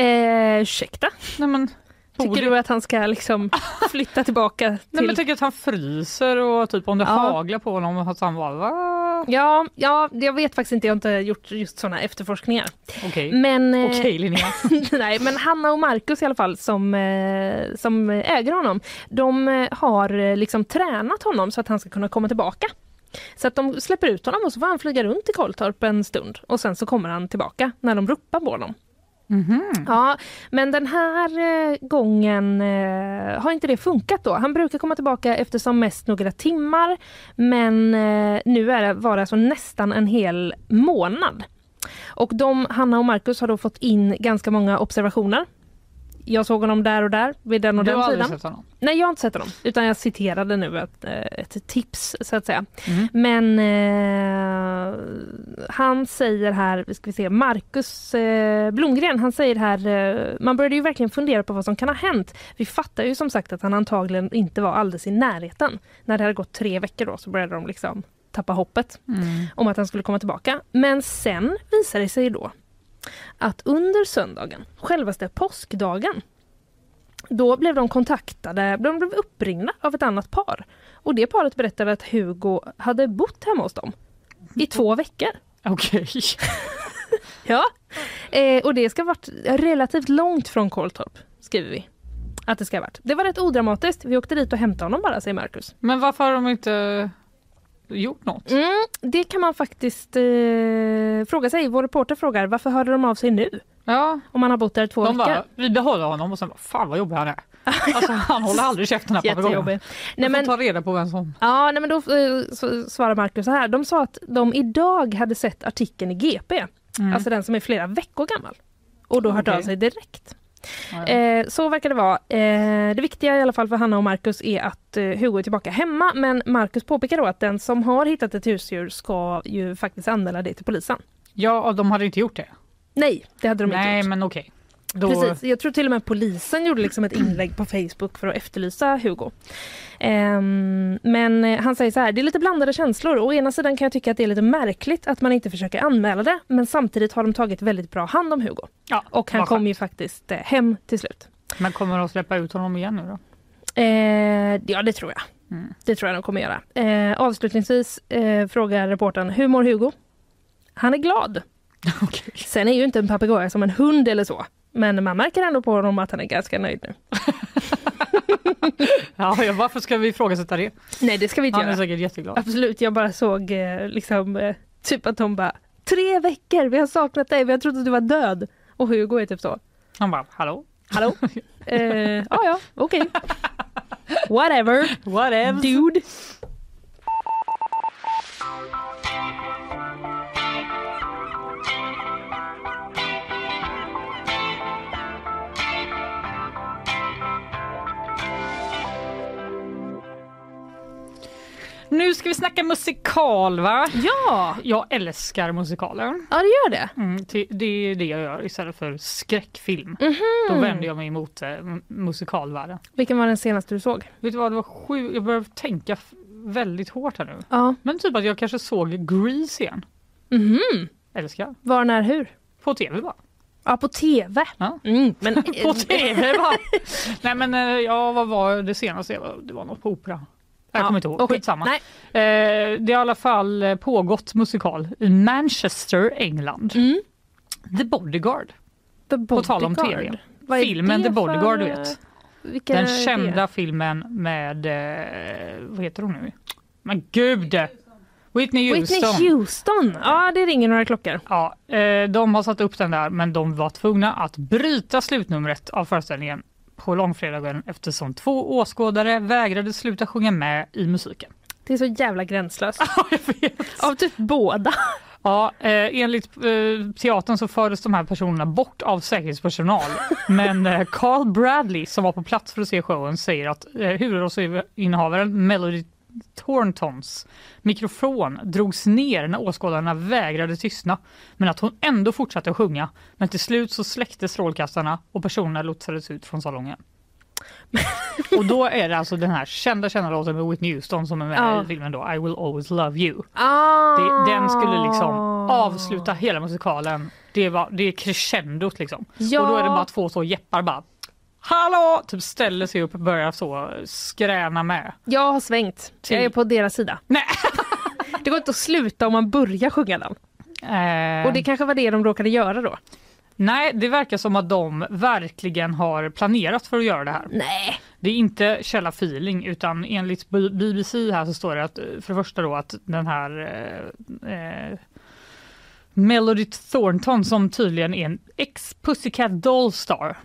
Eh, ursäkta,
Nej men,
tycker
borde-
du att han ska liksom flytta tillbaka
Nej,
till...
men tänk att han fryser och typ om det
Ja.
haglar på honom att han bara va?
Ja, ja, jag vet faktiskt inte, jag har inte gjort just sådana efterforskningar.
Okej.
Men, eh,
Okej Linnea.
nej, men Hanna och Markus i alla fall som, eh, som äger honom, de eh, har eh, liksom tränat honom så att han ska kunna komma tillbaka. Så att de släpper ut honom och så får han flyga runt i Kolltorp en stund och sen så kommer han tillbaka när de ropar på honom.
Mhm.
Ja, men den här eh, gången eh, har inte det funkat då. Han brukar komma tillbaka efter som mest några timmar men eh, nu är det, var det alltså nästan en hel månad. Och de, Hanna och Markus har då fått in ganska många observationer. Jag såg honom där och där, vid den och
Du har
den
aldrig
sidan.
sett honom?
Nej, jag har inte sett dem. Utan jag citerade nu ett, eh, ett tips, så att säga.
Mm.
Men eh, han säger här, ska vi se, Marcus eh, Blomgren, han säger här, eh, man började ju verkligen fundera på vad som kan ha hänt. Vi fattar ju som sagt att han antagligen inte var alldeles i närheten. När det hade gått tre veckor då så började de liksom tappa hoppet om att han skulle komma tillbaka. Men sen visade det sig då att under söndagen, självaste påskdagen, Då blev de kontaktade, de blev uppringda av ett annat par. Och det paret berättade att Hugo hade bott hemma hos dem i två veckor.
Okej.
Ja, eh, och det ska ha varit relativt långt från Koltorp, skriver vi. Att det ska ha varit. Det var rätt odramatiskt. Vi åkte dit och hämtade honom bara, säger Marcus.
Men varför har de inte gjort något?
Mm, det kan man faktiskt eh, fråga sig. Vår reporter frågar varför hörde de av sig nu?
Ja,
Om man har bott där i två
de
veckor.
bara, vi behåller honom och sen bara, fan vad jobbig han är. Alltså han håller aldrig käften här papegojan.
Jättejobbig. Nej,
Man
men,
får ta reda på vem som...
ja, nej, men då eh, så- svarar Marcus så här. De sa att de idag hade sett artikeln i GP.
Mm.
Alltså den som är flera veckor gammal. Och då hört
Okej.
av sig direkt.
Ja, ja.
Eh, så verkar det vara. Eh, det viktiga i alla fall för Hanna och Marcus är att eh, Hugo är tillbaka hemma. Men Marcus påpekar då att den som har hittat ett husdjur ska ju faktiskt anmäla det till polisen.
ja, och de hade inte gjort det.
Nej, det hade de inte gjort.
Nej, men okej. Då...
Precis, jag tror till och med polisen gjorde liksom ett inlägg på Facebook för att efterlysa Hugo. Ehm, men eh, han säger så här, det är lite blandade känslor. Å ena sidan kan jag tycka att det är lite märkligt att man inte försöker anmäla det, men samtidigt har de tagit väldigt bra hand om Hugo.
Ja,
Och han
vad
kom ju faktiskt eh, hem till slut.
skönt. Men kommer de släppa ut honom igen nu då?
Eh, ja, det tror jag.
Mm.
Det tror jag de kommer göra. Eh, avslutningsvis eh, frågar reportern, hur mår Hugo? Han är glad. Sen är ju inte en papegoja som en hund eller så. Men man märker ändå på honom att han är ganska nöjd nu.
Ja, ja, varför ska vi ifrågasätta det?
Nej, det ska vi inte
Han är
göra.
säkert jätteglad.
Absolut, jag bara såg eh, liksom eh, typ att de bara tre veckor, vi har saknat dig, vi har trott att du var död. Och Hugo är typ så,
Han bara, hallå?
hallå? eh, ja, ja, okej. Whatever,
Whatever.
dude.
Nu ska vi snacka musikal va?
Ja,
Jag älskar musikaler.
ja det gör det.
Mm, det, det är det jag gör istället för skräckfilm.
Mhm.
Då vänder jag mig mot eh, m- musikalvärlden.
Vilken var den senaste du såg?
Vet du vad, det var sju, jag börjar tänka f- väldigt hårt här nu.
Ja.
Men typ att jag kanske såg Grease igen.
Mhm.
Älskar.
Var, när, hur?
På tv bara.
Ja, på tv.
Ja.
Mm, men,
På tv bara. Nej men eh, ja, vad var det senaste? jag var- Det var något på opera. Jag
Ja,
kommer inte ihåg,
okej.
skitsamma.
Nej.
Eh, det har i alla fall eh, pågått musikal i Manchester, England.
Mm.
The Bodyguard.
The
På tal om
Bodyguard.
tv.
Vad är
Filmen
det
The Bodyguard, du
för-
vet.
Vilka är
Den
det?
kända filmen med... Eh, vad heter hon nu? Men gud! Whitney Houston.
Whitney Houston. Ja, det ringer några klockor.
Ja, eh, de har satt upp den där, men de var tvungna att bryta slutnumret av föreställningen på långfredagen eftersom två åskådare vägrade sluta sjunga med i musiken.
Det är så jävla gränslöst. Av typ båda.
Ja, eh, enligt eh, teatern så fördes de här personerna bort av säkerhetspersonal. Men eh, Carl Bradley som var på plats för att se showen säger att eh, huvudrollsinnehavaren Melody Thorntons mikrofon drogs ner när åskådarna vägrade tystna men att hon ändå fortsatte att sjunga. Men till slut så släcktes strålkastarna och personerna lotsades ut från salongen. och då är det alltså den här kända kända låten med Whitney Houston som är med
Ja.
i filmen då, I will always love you.
Ah.
Det, den skulle liksom avsluta hela musikalen. Det, var, det är crescendot liksom.
Ja.
Och då är det bara två så jeppar bara Hallå! Typ ställer sig upp och börjar så skräna med.
Jag har svängt.
Till-
Jag är på deras sida.
Nej.
Det går inte att sluta om man börjar sjunga den.
Eh,
Och det kanske var det de råkade göra då.
Nej, det verkar som att de verkligen har planerat för att göra det här.
Nej.
Det är inte källa feeling utan enligt B- BBC här så står det att eh, för det första då att den här eh, eh, Melody Thornton som tydligen är en ex-Pussycat Dollstar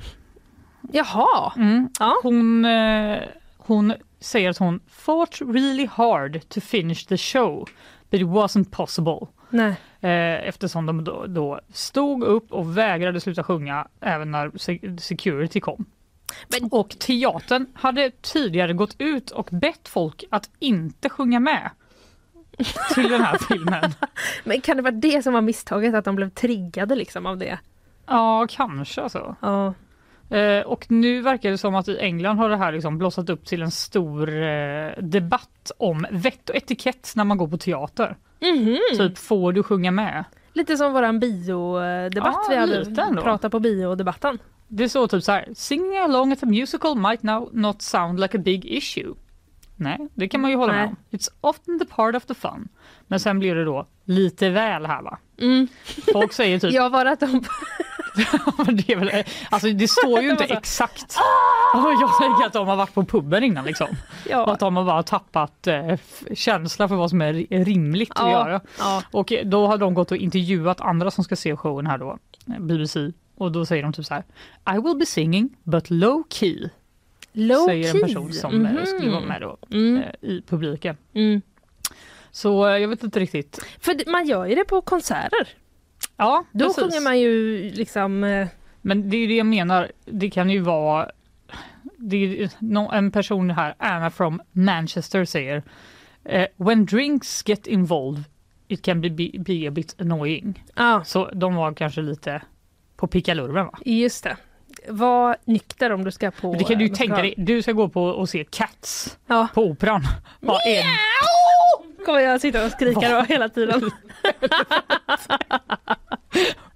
Jaha.
Mm.
Ja.
Hon, eh, hon säger att hon fought really hard to finish the show but it wasn't possible.
Nej.
Eh, eftersom de då, då stod upp och vägrade sluta sjunga även när se- security kom.
Men-
Och teatern hade tidigare gått ut och bett folk att inte sjunga med till den här filmen.
Men kan det vara det som var misstaget? Att de blev triggade liksom av det?
Ja, kanske alltså.
Ja.
Eh, och nu verkar det som att i England har det här liksom blossat upp till en stor eh, debatt om vett och etikett när man går på teater. Typ, får du sjunga med?
Lite som våran biodebatt
Ja,
vi hade.
lite ändå.
Prata på biodebatten.
Det står typ så här, singing along at a musical might now not sound like a big issue. Nej, det kan man ju hålla med om. It's often the part of the fun. Men sen blir det då lite väl här va? Folk säger typ,
Jag var att de...
men det är väl, alltså det står ju inte exakt. Ja, Jag tänker att de har varit på puben innan liksom. Och
Ah! Ja.
att de har bara tappat eh, f- känsla för vad som är ri- rimligt att
Ja,
göra.
ja.
Och eh, då har de gått och intervjuat andra som ska se showen här då, eh, BBC. Och då säger de typ så här, I will be singing but low key.
Low
säger en person
key.
som eh,
Mhm.
skulle vara med då
Mm.
eh, i publiken.
Mm.
Så eh, jag vet inte riktigt.
För det- man gör ju det på konserter.
Ja,
Då
precis.
sjunger man ju liksom... eh,
Men det är ju det jag menar, det kan ju vara... Det är, ju- nå- en person här, Anna from Manchester, säger eh, When drinks get involved it can be, be, be a bit annoying.
Ja,
Så de var kanske lite på pickalurven va?
just det. Var nykter om du ska på...
Men det kan du ju
eh,
tänka dig, du ska gå på och se Cats
Ja.
på Operan. Bara en.
Kommer jag sitta och skrika då hela tiden?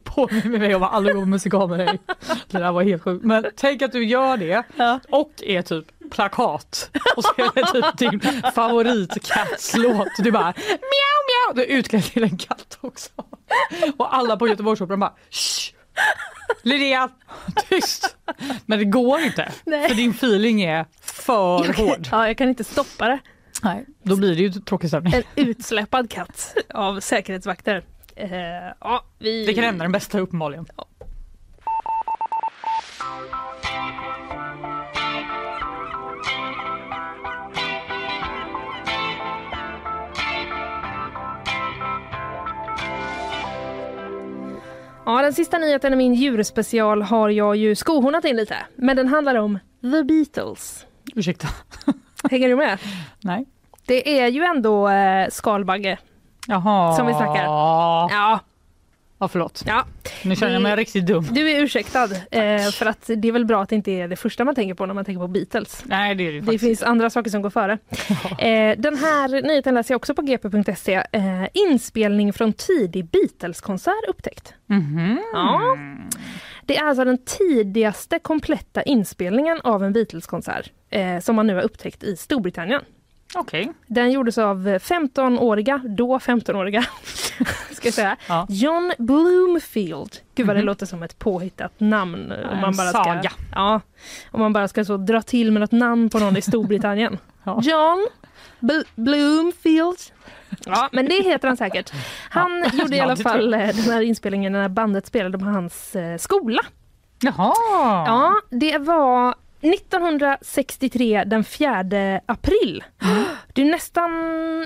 påminner med mig om att aldrig gå på musikal med dig. Det där var helt sjukt. Men tänk att du gör det
Ja.
och är typ plakat och så är det typ din favorit Cats-låt. Du bara mjau mjau. Du är utklädd till en katt också. Och alla på Göteborgsoperan bara shh. Linnea, tyst! Men det går inte,
Nej.
för din feeling är för hård.
Ja, jag kan inte stoppa det.
Nej, då blir det ju tråkig stämning.
En utsläpad katt av säkerhetsvakter. Eh, ja, vi...
Det kan hända den bästa uppenbarligen.
Ja, den sista nyheten i min djurspecial har jag ju skohornat in lite. Men den handlar om The Beatles.
Ursäkta.
Hänger du med?
Nej.
Det är ju ändå eh, skalbagge.
Jaha.
Som vi snackar. Ja,
Ja, förlåt.
ja,
Nu känner jag mig riktigt dum.
du är ursäktad. Eh, för att det är väl bra att det inte är det första man tänker på när man tänker på Beatles.
Nej, det är det ju
Det
faktiskt.
finns andra saker som går före. Eh, den här nyheten läser jag också på gp.se. Eh, inspelning från tidig Beatles-konsert upptäckt.
Mhm.
Ja. Det är alltså den tidigaste kompletta inspelningen av en Beatles-konsert eh, som man nu har upptäckt i Storbritannien.
Okej.
Den gjordes av 15-åriga, då 15-åriga, ska jag säga,
Ja.
John Bloomfield. Gud vad det låter som ett påhittat namn.
Mhm. en
Om man bara ska,
saga.
ja, om man bara ska så dra till med något namn på någon i Storbritannien.
Ja.
John Bl- Bloomfield. Ja, men det heter han säkert. Han gjorde i
Ja,
alla
det tror
fall eh, den här inspelningen när bandet spelade på hans eh, skola.
Jaha.
Ja, det var 1963 den 4 april.
Mm.
Det är nästan,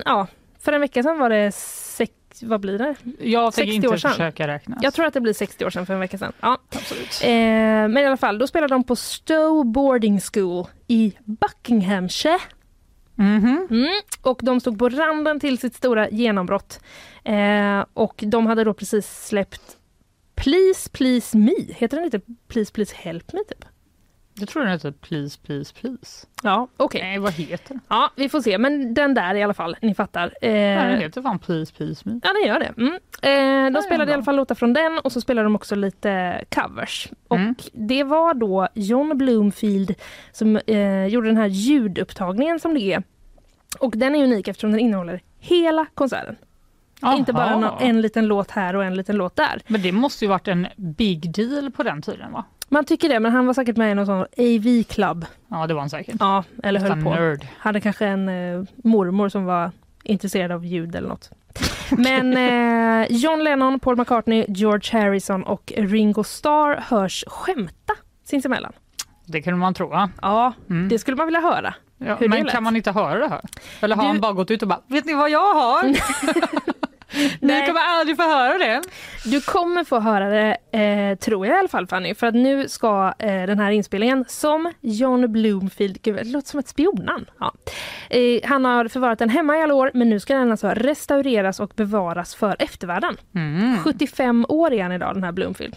ja, för en vecka sedan var det sex, vad blir det?
Jag tänker
60
inte
år sedan.
försöka räkna.
Jag tror att det blir 60 år sedan för en vecka sedan. Ja.
Alltså. Absolut.
Eh, men i alla fall, då spelade de på Stowe Boarding School i Buckinghamshire.
Mhm.
Mm. Och de stod på randen till sitt stora genombrott. Eh, och de hade då precis släppt Please Please Me. Heter den inte Please Please Help Me typ?
Jag tror den heter Please, please, please.
Ja, okej.
Nej, vad heter den?
Ja, vi får se. Men den där i alla fall, ni fattar. Eh,
Nej, den heter fan Please, please me.
ja, den gör det. Mm. Eh, de
Ja,
spelade i
bra.
alla fall låtar från den och så spelade de också lite covers. Och
Mm.
det var då John Bloomfield som eh, gjorde den här ljudupptagningen som det är. Och den är unik eftersom den innehåller hela konserten. Inte bara
Aha.
nå- en liten låt här och en liten låt där.
Men det måste ju varit en big deal på den tiden va?
Man tycker det, men han var säkert med i någon sån AV-club.
Ja, det var han säkert.
Ja, eller höll
Fan,
på.
nörd.
hade kanske en eh, mormor som var intresserad av ljud eller något. Men eh, John Lennon, Paul McCartney, George Harrison och Ringo Starr hörs skämta sinsemellan.
Det kunde man tro. Va?
Ja,
Mm.
det skulle man vilja höra.
Ja,
Hur det
men
lät.
kan man inte höra det här? Eller har
Du-
han bara gått ut och bara, vet ni vad jag har? Ni
Nej.
kommer aldrig få höra det.
Du kommer få höra det, eh, tror jag i alla fall Fanny, för att nu ska eh, den här inspelningen som John Bloomfield, gud det låter som ett spionnamn. Ja. Eh, han har förvarat den hemma i alla år men nu ska den alltså restaureras och bevaras för eftervärlden.
Mm.
75 år är han idag, den här Bloomfield.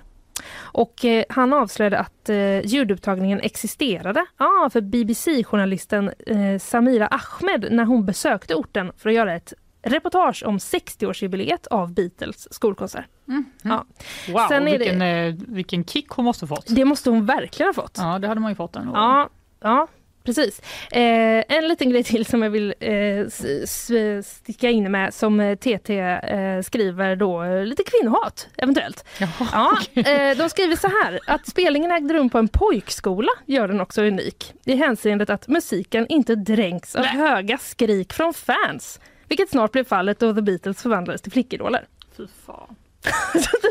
Och eh, han avslöjade att eh, ljudupptagningen existerade ah, för BBC-journalisten eh, Samira Ahmed när hon besökte orten för att göra ett reportage om 60-årsjubileet av Beatles skolkonsert. Ja.
Wow,
Sen är det-
vilken, eh, vilken kick hon måste fått.
Det måste hon verkligen ha fått.
Ja, det hade man ju fått ändå.
Ja, ja precis. Eh, en liten grej till som jag vill eh, s- s- sticka in med som eh, TT eh, skriver då, eh, lite kvinnohat eventuellt. Ja, eh, de skriver så här, att spelningen ägde rum på en pojkskola gör den också unik i hänseendet att musiken inte dränks av höga skrik från fans. Vilket snart blev fallet då The Beatles förvandlades till flickidoler.
Fy fan.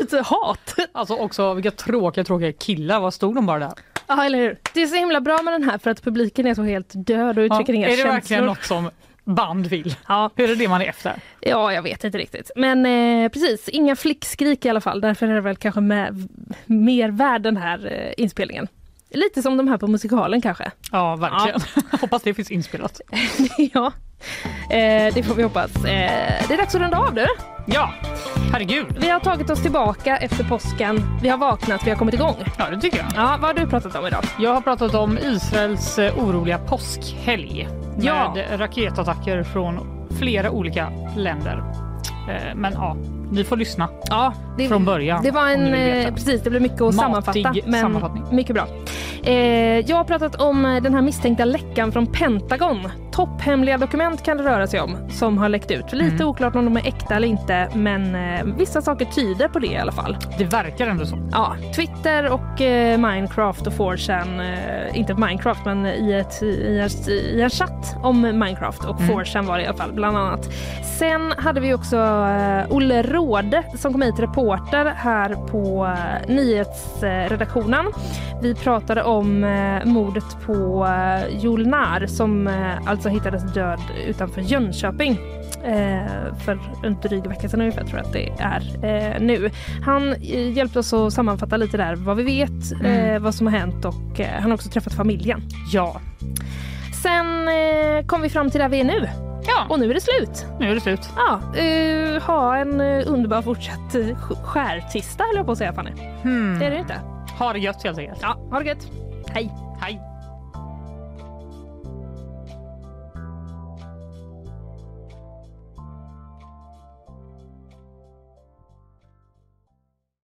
Lite hat!
Alltså också vilka tråkiga, tråkiga killar. Vad stod de bara där?
Ja, eller hur? Det är så himla bra med den här för att publiken är så helt död och uttrycker inga
är det
känslor.
verkligen något som band vill?
Ja.
Hur är det det man är efter?
Ja, jag vet inte riktigt. Men eh, precis, inga flickskrik i alla fall. Därför är det väl kanske med, mer värd den här eh, inspelningen. Lite som de här på musikalen kanske.
Ja, verkligen. Hoppas det finns inspelat.
ja, eh, det får vi hoppas. Eh, det är dags att runda av nu.
Ja, herregud.
Vi har tagit oss tillbaka efter påsken. Vi har vaknat, vi har kommit igång.
Ja, det tycker jag.
Ja, vad har du pratat om idag?
Jag har pratat om Israels eh, oroliga påskhelg med
Ja.
raketattacker från flera olika länder. Eh, Men ja, ni får lyssna
Ja, det,
från början.
Det var
om ni
en,
vill veta.
eh, precis, det blev mycket att
Matig
sammanfatta. Men
sammanfattning.
Mycket bra. Eh, jag har pratat om eh, den här misstänkta läckan från Pentagon. Topphemliga dokument kan det röra sig om som har läckt ut. Lite
Mm.
oklart om de är äkta eller inte, men eh, vissa saker tyder på det i alla fall.
Det verkar ändå så.
Ja, Twitter och eh, Minecraft och 4chan, eh, inte Minecraft men i, ett, i, ett, i en chatt om Minecraft
Mm.
och 4chan var det i alla fall bland annat. Sen hade vi också eh, Olle Råde som kom hit reporter här på eh, nyhetsredaktionen. Vi pratade om eh, mordet på eh, Jolnar som eh, alltså hittades död utanför Jönköping eh, för en dryg vecka sedan ungefär tror jag att det är eh, nu. Han eh, hjälpte oss att sammanfatta lite där vad vi vet,
Mm.
eh, vad som har hänt och eh, han har också träffat familjen.
Ja,
Sen eh, kom vi fram till där vi är nu.
Ja.
Och nu är det slut.
nu är det slut.
Ja, eh, ha en eh, underbar fortsatt eh, sk- skärtisdag höll jag på att säga Fanny.
Hmm.
Det är det inte.
Ha det gött helt enkelt.
Ja, ha det gött. Hej.
Hej.